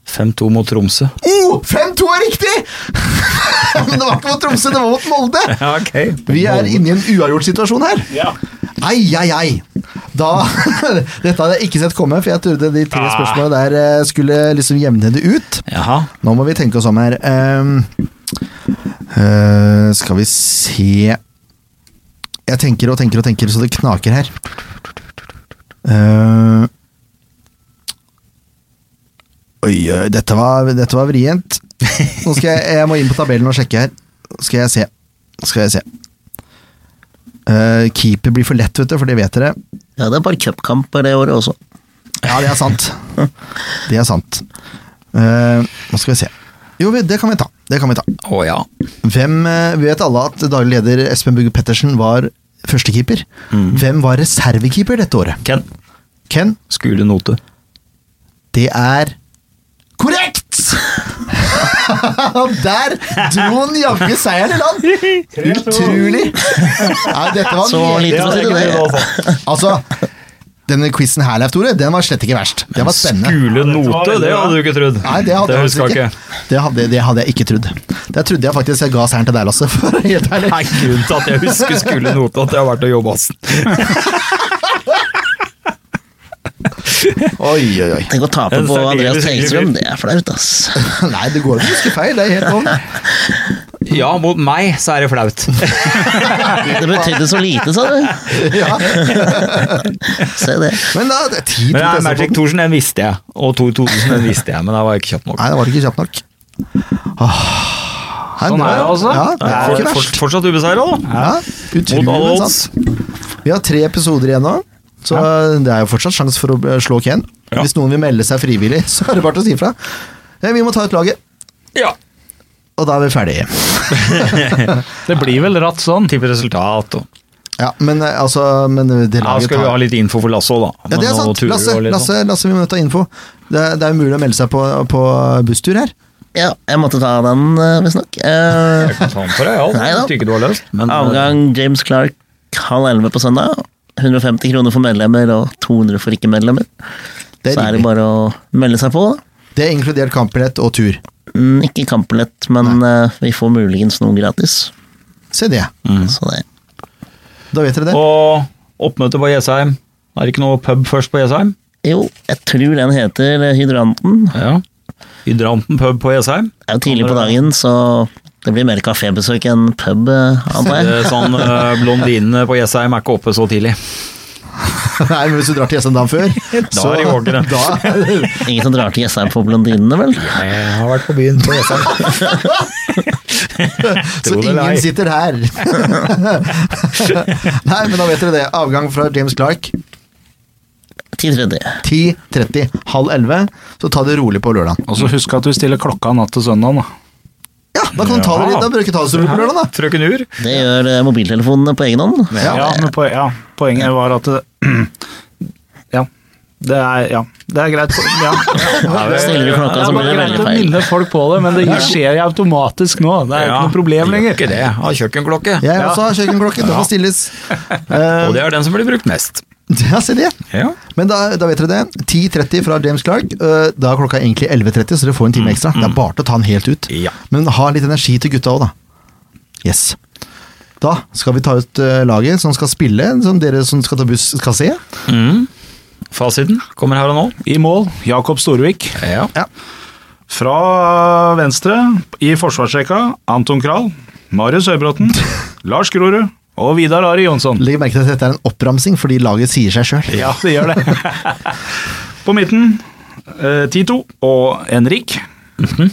B: 5-2 mot Tromsø.
A: Oh, 5-2 er riktig! Men det var ikke mot Tromsø, det var mot Molde!
B: Ja, ok.
A: Vi er inne i en uavgjort situasjon her. Ai, ai, ai. Da, dette hadde jeg ikke sett komme, for jeg trodde de tre spørsmålene der eh, skulle liksom jevne det ut.
B: Jaha.
A: Nå må vi tenke oss om her. Ehm, eh, skal vi se Jeg tenker og tenker og tenker så det knaker her. Eh, oi, oi, dette var, dette var vrient. Nå skal jeg, jeg må inn på tabellen og sjekke her. Skal jeg se. Skal jeg se. Eh, keeper blir for lett, vet du, for det vet dere.
C: Ja, det er bare cupkamper det året også.
A: Ja, det er sant. Det er sant. Eh, nå skal vi se. Jo, vi- det kan vi ta. Det kan vi ta.
B: Å ja.
A: Hvem eh, Vi vet alle at daglig leder Espen Bugge Pettersen var førstekeeper. Hvem var reservekeeper dette året?
B: Ken.
A: Ken,
B: Skule note.
A: det er korrekt! Der dro han jaggu seieren i land! Utrolig! Nei, dette var
C: Så
A: veldig-
C: lite for å si det.
A: Altså, denne quizen her, Leif Tore, den var slett ikke verst. Den var spennende.
B: Skule note, det hadde du ikke trodd.
A: Nei, det hadde,
B: det
A: jeg
B: husker
A: faktisk
B: jeg
A: ikke.
B: ikke.
A: Det, hadde, det hadde jeg ikke trodd. Der trodde jeg faktisk jeg ga seieren til deg, Lasse. For å være helt ærlig.
B: Nei, grunnen til at jeg husker skule note, at jeg har vært og jobba.
A: Oi, oi, oi.
C: Tenk å tape
B: En
C: på
B: særdeles
C: Andreas
B: hyggelig
C: Tegstrøm,
B: fyr.
C: det er flaut, ass.
A: Nei, det går ikke å huske feil. Det er helt om.
B: Ja, mot meg så er det flaut.
C: Det betydde så lite, sa du.
A: Ja.
C: Se det.
A: Men da, det er tid
B: Men
A: til
B: ja,
A: å teste
B: Magic
A: på den.
B: Thorsen, den visste jeg. Og Tor Thorsen, den visste jeg, men jeg var ikke kjapp nok.
A: Nei, det var ikke kjapt nok. Åh, her,
D: Sånn er det, altså.
A: Ja, det er
B: For,
A: ikke
B: for,
A: verst.
B: fortsatt ubeseira, da.
A: Ja,
B: Mot alle
A: utrolig, men
B: odds.
A: sant. Vi har tre episoder igjen nå, så det er jo fortsatt sjanse for å eh, slå Ken.
B: Ja.
A: Hvis noen vil melde seg frivillig, så er det bare til å si ifra. Eh, Vi må ta ut laget,
B: Ja.
A: og da er vi ferdige.
D: Det blir vel ratt sånn.
B: Tipper resultat og
A: Ja, men eh, altså men eh, det
B: Ja,
A: laget
B: skal vi ha litt info for Lasse òg,
A: Ja,
B: da.
A: det
B: Med
A: er
B: noen
A: sant.
B: turer
A: Lasse,
B: og litt sånn?
A: Lasse, Lasse, vi må ta info. Det, er- det er umulig å melde seg på, på busstur her.
C: Ja, jeg måtte ta den, eh, visstnok.
B: sånn.
C: Eh,
B: Jeg kan ta den for deg, ja.
C: Nei da.
B: Jeg tror ikke du har løst.
A: eh,
B: Men,
C: Avgang James Clark halv elleve på søndag. 150 kroner for medlemmer og 200 for ikke-medlemmer.
A: Det
C: Så
A: er
C: er det
A: rimelig.
C: bare å melde seg på. da.
A: Det er inkludert kampbillett og tur.
C: Mm, Ikke kampbillett, men eh, vi får muligens noe gratis.
A: Se det.
C: Så det
A: Da vet dere det.
B: Og oppmøte på Jessheim. Er det ikke noe pub først på Jessheim?
C: Jo, jeg tror den heter eh, Hydranten.
B: Ja. Hydranten pub på Jessheim.
C: Det er jo tidlig på dagen, så det blir mer kafébesøk enn pub, eh, antar jeg.
D: sånn-
B: Det er Sånn eh, Blondinene på Jessheim er ikke oppe så tidlig.
A: Nei, men hvis du drar til SM dagen før,
B: Da er de ordre.
A: da,
C: Ingen som drar til Jessheim på Blondinene, vel?
B: Jeg har vært på byen på Jessheim.
A: Så
B: Tro det eller ei.
A: ingen sitter her. Nei, men da vet dere det. Avgang fra James Clark
C: Til tredje.
A: 10.30, halv 11. Så ta det rolig på lørdagen.
D: Og så husk at du stiller klokka natt til søndag, da.
A: Ja, da kan du ta det,
B: Ja.
A: da bør du ikke ta det så rolig på lørdagen, da.
B: Frøken Ur.
C: Det gjør eh, mobiltelefonene på egen hånd.
A: Ja.
D: Ja, men poe- ja, poenget var at det, Ja. Det er, ja, det er greit. Ja.
C: Stiller du klokka, så
D: Det er
C: blir det
D: bare greit
C: veldig
D: å
C: feil.
D: minne folk på det, men det skjer jo automatisk nå. Det er jo
B: Ja,
D: ikke noe problem
B: gjør
D: lenger.
B: Ikke det. Har kjøkkenklokke.
A: Jeg også har kjøkkenklokke, den må stilles. Eh,
B: Og det er den som blir brukt mest.
A: Ja, se det.
B: Ja.
A: Men da, da vet dere det. 10.30 fra James Clark. Eh, Da er klokka egentlig 11.30, så dere får en time ekstra. Det er bare til å ta den helt ut.
B: Ja.
A: Men ha litt energi til gutta òg, da. Yes. Da skal vi ta ut eh, laget som skal spille, som dere som skal ta buss, skal se.
B: Mm. Fasiten kommer her og nå.
D: I mål, Jakob Storvik.
B: Ja.
D: Fra venstre i forsvarsrekka, Anton Kral, Marius Høybråten, Lars Grorud og Vidar Ari Jonsson.
A: Legg merke til at dette er en oppramsing, fordi laget sier seg sjøl.
D: Ja, det gjør det. På midten, eh, Tito og Henrik. Mhm.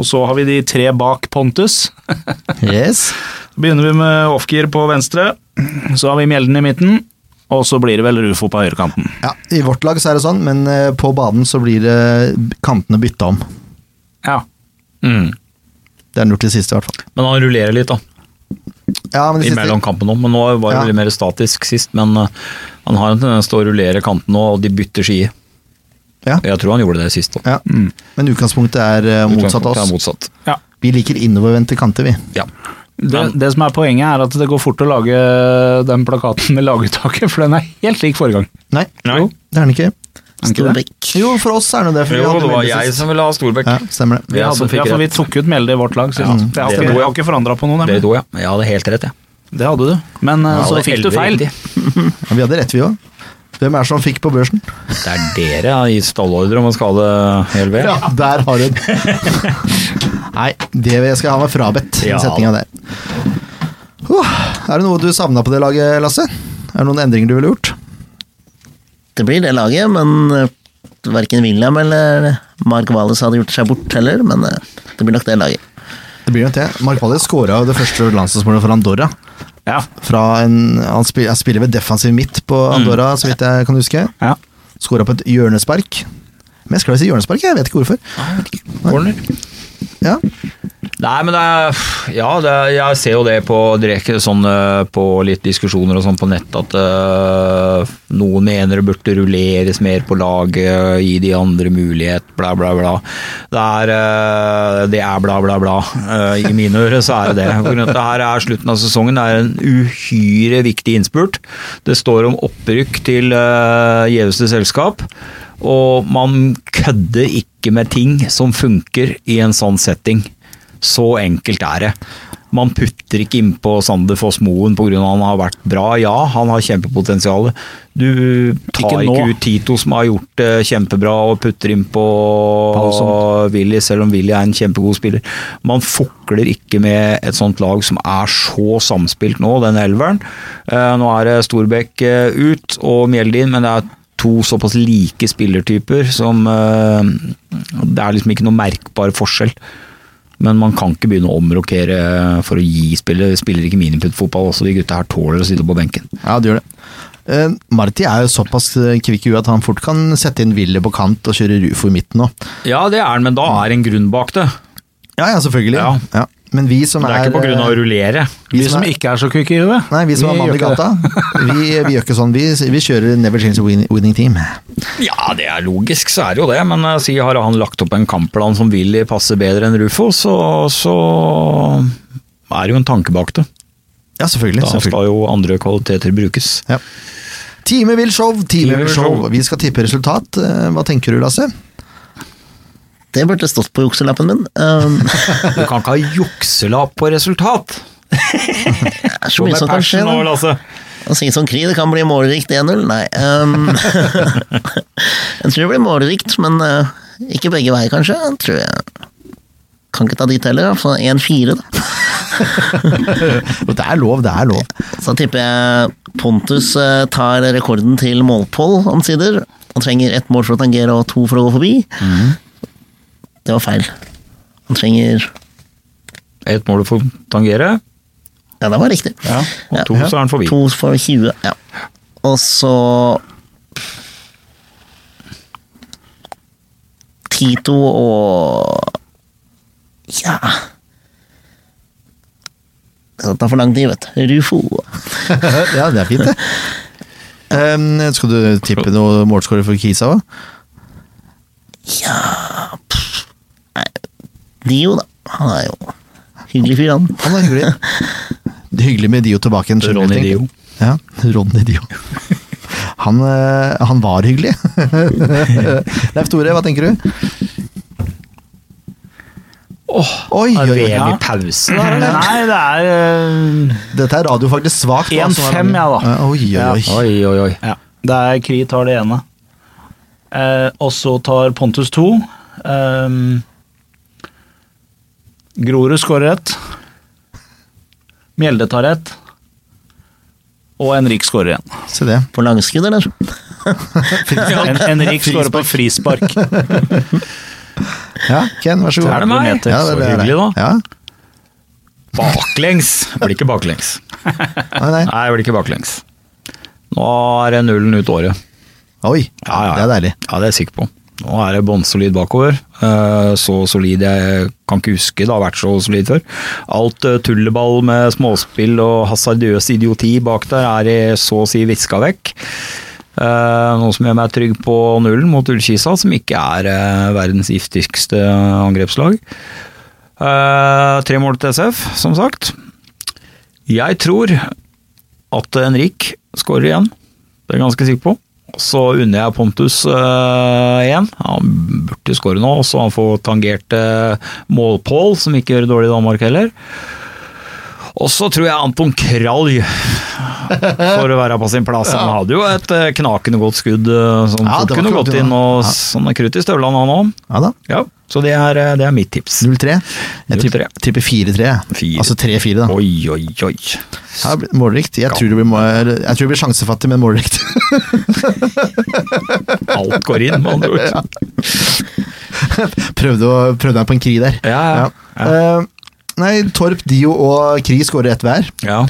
D: Og så har vi de tre bak Pontus.
A: Yes.
D: Begynner vi med off-gear på venstre, så har vi Mjelden i midten, og så blir det vel Rufo på høyrekanten.
A: Ja, I vårt lag så er det sånn, men eh, på banen så blir det kantene bytta om.
D: Ja.
B: Mm.
A: Det er lurt til siste, i hvert fall.
B: Men han rullerer litt, da.
A: Ja, men de siste,
B: Imellom kampen nå. Men nå var det
A: Ja.
B: litt mer statisk sist. Men eh, han har en tendens til å rullere kanten nå, og de bytter ski.
A: Ja.
B: Jeg tror han gjorde det sist òg.
A: ja. Men utgangspunktet er eh, motsatt av oss.
B: Motsatt.
A: Vi liker innovervendte kanter, vi.
B: Ja.
D: Det, det som er poenget, er at det går fort å lage den plakaten med laguttaket, for den er helt lik forrige gang.
A: Nei,
B: Nei.
A: Jo, det er den ikke.
C: Storbekk.
A: Jo, for oss er den jo det. for vi
B: Jo,
A: hadde
B: det var
A: veldig
B: jeg
A: sist.
B: som ville ha Storbekk.
A: Ja, stemmer det.
B: Vi er
D: Vi,
B: som
D: hadde,
B: fikk
D: ja, for vi
B: rett.
D: tok ut Mjelde i vårt lag sist.
B: Ja,
D: Jeg har
B: det
D: ikke,
B: tror jeg.
D: jeg har ikke forandra på noen,
B: Det
D: nemlig.
B: gjorde jeg. Jeg hadde helt rett, jeg.
D: Det hadde du. Men
B: Jeg
D: eh, så
B: hadde
D: fikk du
B: 11
D: feil.
B: riktig.
A: Ja, vi hadde rett, vi òg. Hvem er det som fikk på børsen?
B: Det er dere jeg har gitt stallordre om å skade LV.
A: Ja, der har du den. Nei, det jeg skal jeg ha meg frabedt.
B: Ja.
A: Ja. Setninga der. Huh, er det noe du savna på det laget, Lasse? Er det noen endringer du ville gjort?
C: Det blir det laget, men eh, verken William eller Mark Wallis hadde gjort seg bort heller, men eh, det blir nok det laget.
A: Det blir nok det. Mark Valle skåra det første landslagsmålet for Andorra.
D: Ja.
A: Fra en, han, spiller, han spiller ved defensiv midt på
B: Mm.
A: Andorra, så vidt jeg kan huske.
D: Ja.
A: Skåra på et hjørnespark. Men jeg skal vel si hjørnespark, jeg vet ikke hvorfor. Ja,
B: Nei, men det er, ja, det er, jeg ser jo det på Dreke, sånn, eh, på litt diskusjoner og sånn på nett, at eh, noen mener det burde rulleres mer på laget, eh, gi de andre mulighet, bla, bla, bla. Det er, eh, det er bla, bla, bla. Eh, I mine ører så er det det. For at det her er slutten av sesongen, det er en uhyre viktig innspurt. Det står om opprykk til eh, gjeveste selskap. Og man kødder ikke med ting som funker i en sånn setting. Så enkelt er det. Man putter ikke innpå Sander Foss Moen pga. han har vært bra. Ja, han har kjempepotensial. Du tar
D: Ikke
B: ikke,
D: nå.
B: ut Tito, som har gjort det kjempebra, og putter innpå Willy, selv om Willy er en kjempegod spiller. Man fukler ikke med et sånt lag som er så samspilt nå, den elveren. Eh, Nå er det Storbekk eh, ut og Mjelde inn, men det er to såpass like spillertyper som eh, Det er liksom ikke noe merkbar forskjell. Men man kan ikke begynne å omrokere for å gi spillet. Spiller ikke miniputtfotball også, de gutta her tåler å sitte på benken.
A: ja det gjør det. Eh, Marti er jo såpass eh, kvikk i huet at han fort kan sette inn Willy på kant og kjøre Rufo i midten òg.
B: Ja, det er han, men da er det en grunn bak det.
A: Ja, ja, selvfølgelig.
B: Ja.
A: Ja. Men vi som
B: Det
A: er, eh,
B: er ikke på grunn av å rullere.
D: Vi som ikke er så kvikke i huet.
A: Nei, vi som er mann i
D: gjør ikke det.
A: gata, vi, vi gjør ikke sånn. Vi, vi kjører Never Change a Win- Winning Team.
B: Ja, det er logisk, så er det jo det, men eh, si har han lagt opp en kampplan som Willy passer bedre enn Rufo, så, så er det jo en tanke bak det.
A: Ja, selvfølgelig.
B: Da
A: selvfølgelig.
B: skal jo andre kvaliteter brukes.
A: Ja. Time vil show, time
B: Time
A: vil
B: vil
A: show.
B: show.
A: Vi skal tippe resultat. Eh, Hva tenker du, Lasse?
C: Det burde stått på jukselappen min. Um,
B: Du kan ikke ha jukselapp på resultat!
C: Det er så mye som kan skje. da.
B: Lasse.
C: Å si som Kri, det kan bli målrikt 1-0. Nei. ehm, jeg tror det blir målrikt, men eh, ikke begge veier, kanskje. Jeg tror jeg kan ikke ta dit heller. da. Så 1-4, da.
A: Og det er lov, det er lov.
C: Så tipper jeg Pontus eh, tar rekorden til målpoll omsider. Han trenger ett mål for å tangere og to for å gå forbi.
A: Mhm.
C: Det var feil. Han trenger
B: Ett mål for å tangere,
C: Ja, det var riktig.
B: ja, og to
C: Ja.
B: så er han forbi.
C: To for 20, ja. Og så Tito og Ja Det tar for lang tid, vet du. Rufo.
A: ja, det er fint, det. Um, skal du tippe noe målscorer for Kisa òg?
C: Dio, da. Han er jo hyggelig fyr, han.
A: Han er hyggelig. Det er Hyggelig med Dio tilbake igjen. skjønner
B: Ronny
A: du, tenker. Ja, Ronny Dio. Han, eh, han var hyggelig. Leif Tore, hva tenker du?
B: Åh,
A: Oi,
B: er
A: oi, oi.
B: VM i pausen der, eller?
D: Nei, det er eh,
A: Dette er radio faktisk svakt. da, som er
D: 1-5, ja, da.
A: Eh, Oi, oi, oi.
B: Oi, oi, oi.
D: ja. Det er Kri tar det ene. Eh, og så tar Pontus to. Ehm, Grorud skårer ett. Mjelde tar ett. Og Henrik skårer igjen.
A: Se det.
C: På langskudd, eller?
D: En, Henrik skårer på frispark.
A: Ja, Ken, vær så god.
B: Er det meg?
A: Ja, det,
B: Så
A: det er
B: hyggelig, da.
A: deg. Ja.
B: Baklengs! Blir ikke baklengs.
A: Nei, nei.
B: Nei, jeg blir ikke baklengs. Nå er det nullen ut året.
A: Oi,
B: Ja,
A: det
B: ja, ja.
A: er deilig.
B: Ja, det er jeg sikker på. Nå er det bånnsolid bakover. Eh, Så solid jeg kan ikke huske det har vært så solid før. Alt eh, tulleball med småspill og hasardiøs idioti bak der er i så å si viska vekk. Eh, Noe som gjør meg trygg på nullen mot Ullkisa, som ikke er eh, verdens giftigste angrepslag. Eh, Tre mål til SF, som sagt. Jeg tror at Henrik skårer igjen. Det er jeg ganske sikker på. Så unner jeg Pontus eh, igjen. Han burde skåre nå, så han får tangert eh, målpål, som ikke gjør det dårlig i Danmark heller. Og så tror jeg Anton Kralj for å være på sin plass. Han hadde jo et eh, knakende godt skudd eh, som
A: Ja,
B: fort
A: det var
B: kunne
A: ikke
B: gått
A: godt
B: inn,
A: unna.
B: og sånn er krutt i støvlene han òg.
A: Ja da.
B: Ja, så det er, eh, det er mitt tips.
A: 0-3. Jeg
B: 0-3.
A: tipper- tipper 4-3.
B: Fire.
A: Altså 3-4, da.
B: Oi, oi, oi.
A: Ja, det blir målrikt. Jeg tror det blir, mål- jeg tror det blir sjansefattig, men målrikt.
B: Alt går inn, med andre ord.
A: prøvde, å, prøvde meg på en Kri der.
B: Ja, ja.
A: Eh, nei, Torp, Dio og Kri skårer ett hver,
B: Ja.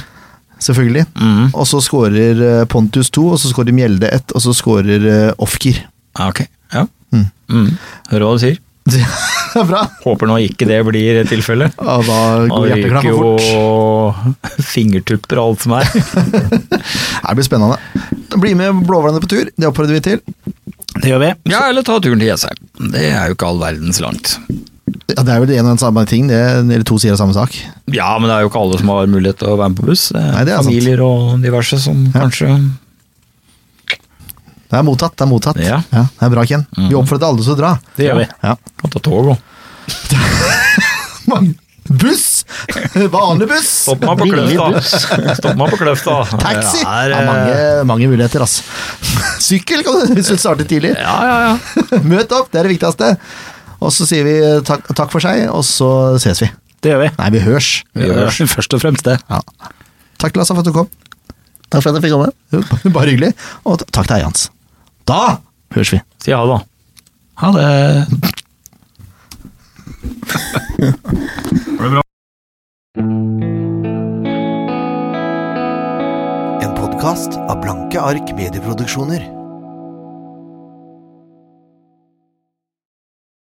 A: selvfølgelig.
B: Mm.
A: Og så skårer eh, Pontus to, og så skårer Mjelde ett, og så skårer eh, Ofkir.
B: Ja, Ok, ja.
A: Mm.
B: Mm. Hører hva du sier.
A: Det er bra!
B: Håper nå ikke det blir tilfellet.
A: Ja, da
B: Han
A: går
B: ryker
A: hjerteklappen fort.
B: jo fingertupper og alt som er.
A: Det blir spennende. Da Bli med Blåhvalene på tur, det oppfordrer vi til.
D: Det gjør vi.
B: Ja, eller ta turen til Jessheim. Det er jo ikke all verdens langt.
A: Ja, det er vel en og en samme ting, det, eller to sider av samme sak.
B: Ja, men det er jo ikke alle som har mulighet til å være med på buss. Det er,
A: Nei, det er sant.
B: familier og diverse som kanskje
A: Det er mottatt, det er mottatt.
B: Ja. Mm.
A: det er bra, Ken. Vi oppfordrer alle til å dra.
D: Det gjør vi.
A: Ja.
B: kan ta tog og
A: Man- Buss! Vanlig buss!
B: Stopp meg på Kløfta! Stopp meg på Kløfta!
A: Taxi!
B: Det
A: Det
B: er, eh,
A: er mange, mange muligheter, ass. Sykkel kan du hvis du starter tidlig.
B: Ja, ja, ja.
A: Møt opp, det er det viktigste. Og så sier vi eh, takk, takk for seg, og så ses vi.
D: Det gjør vi.
A: Nei, vi hørs.
B: Vi gjør det.
D: Først og fremst det.
A: Ja. Takk, Lasse, for at du kom.
C: Takk for at jeg fikk komme.
A: Jo, Bare hyggelig. Og t- takk til eieren hans. Da høres vi.
B: Si ha det, da. Ha det.
F: En podkast av Blanke ark medieproduksjoner.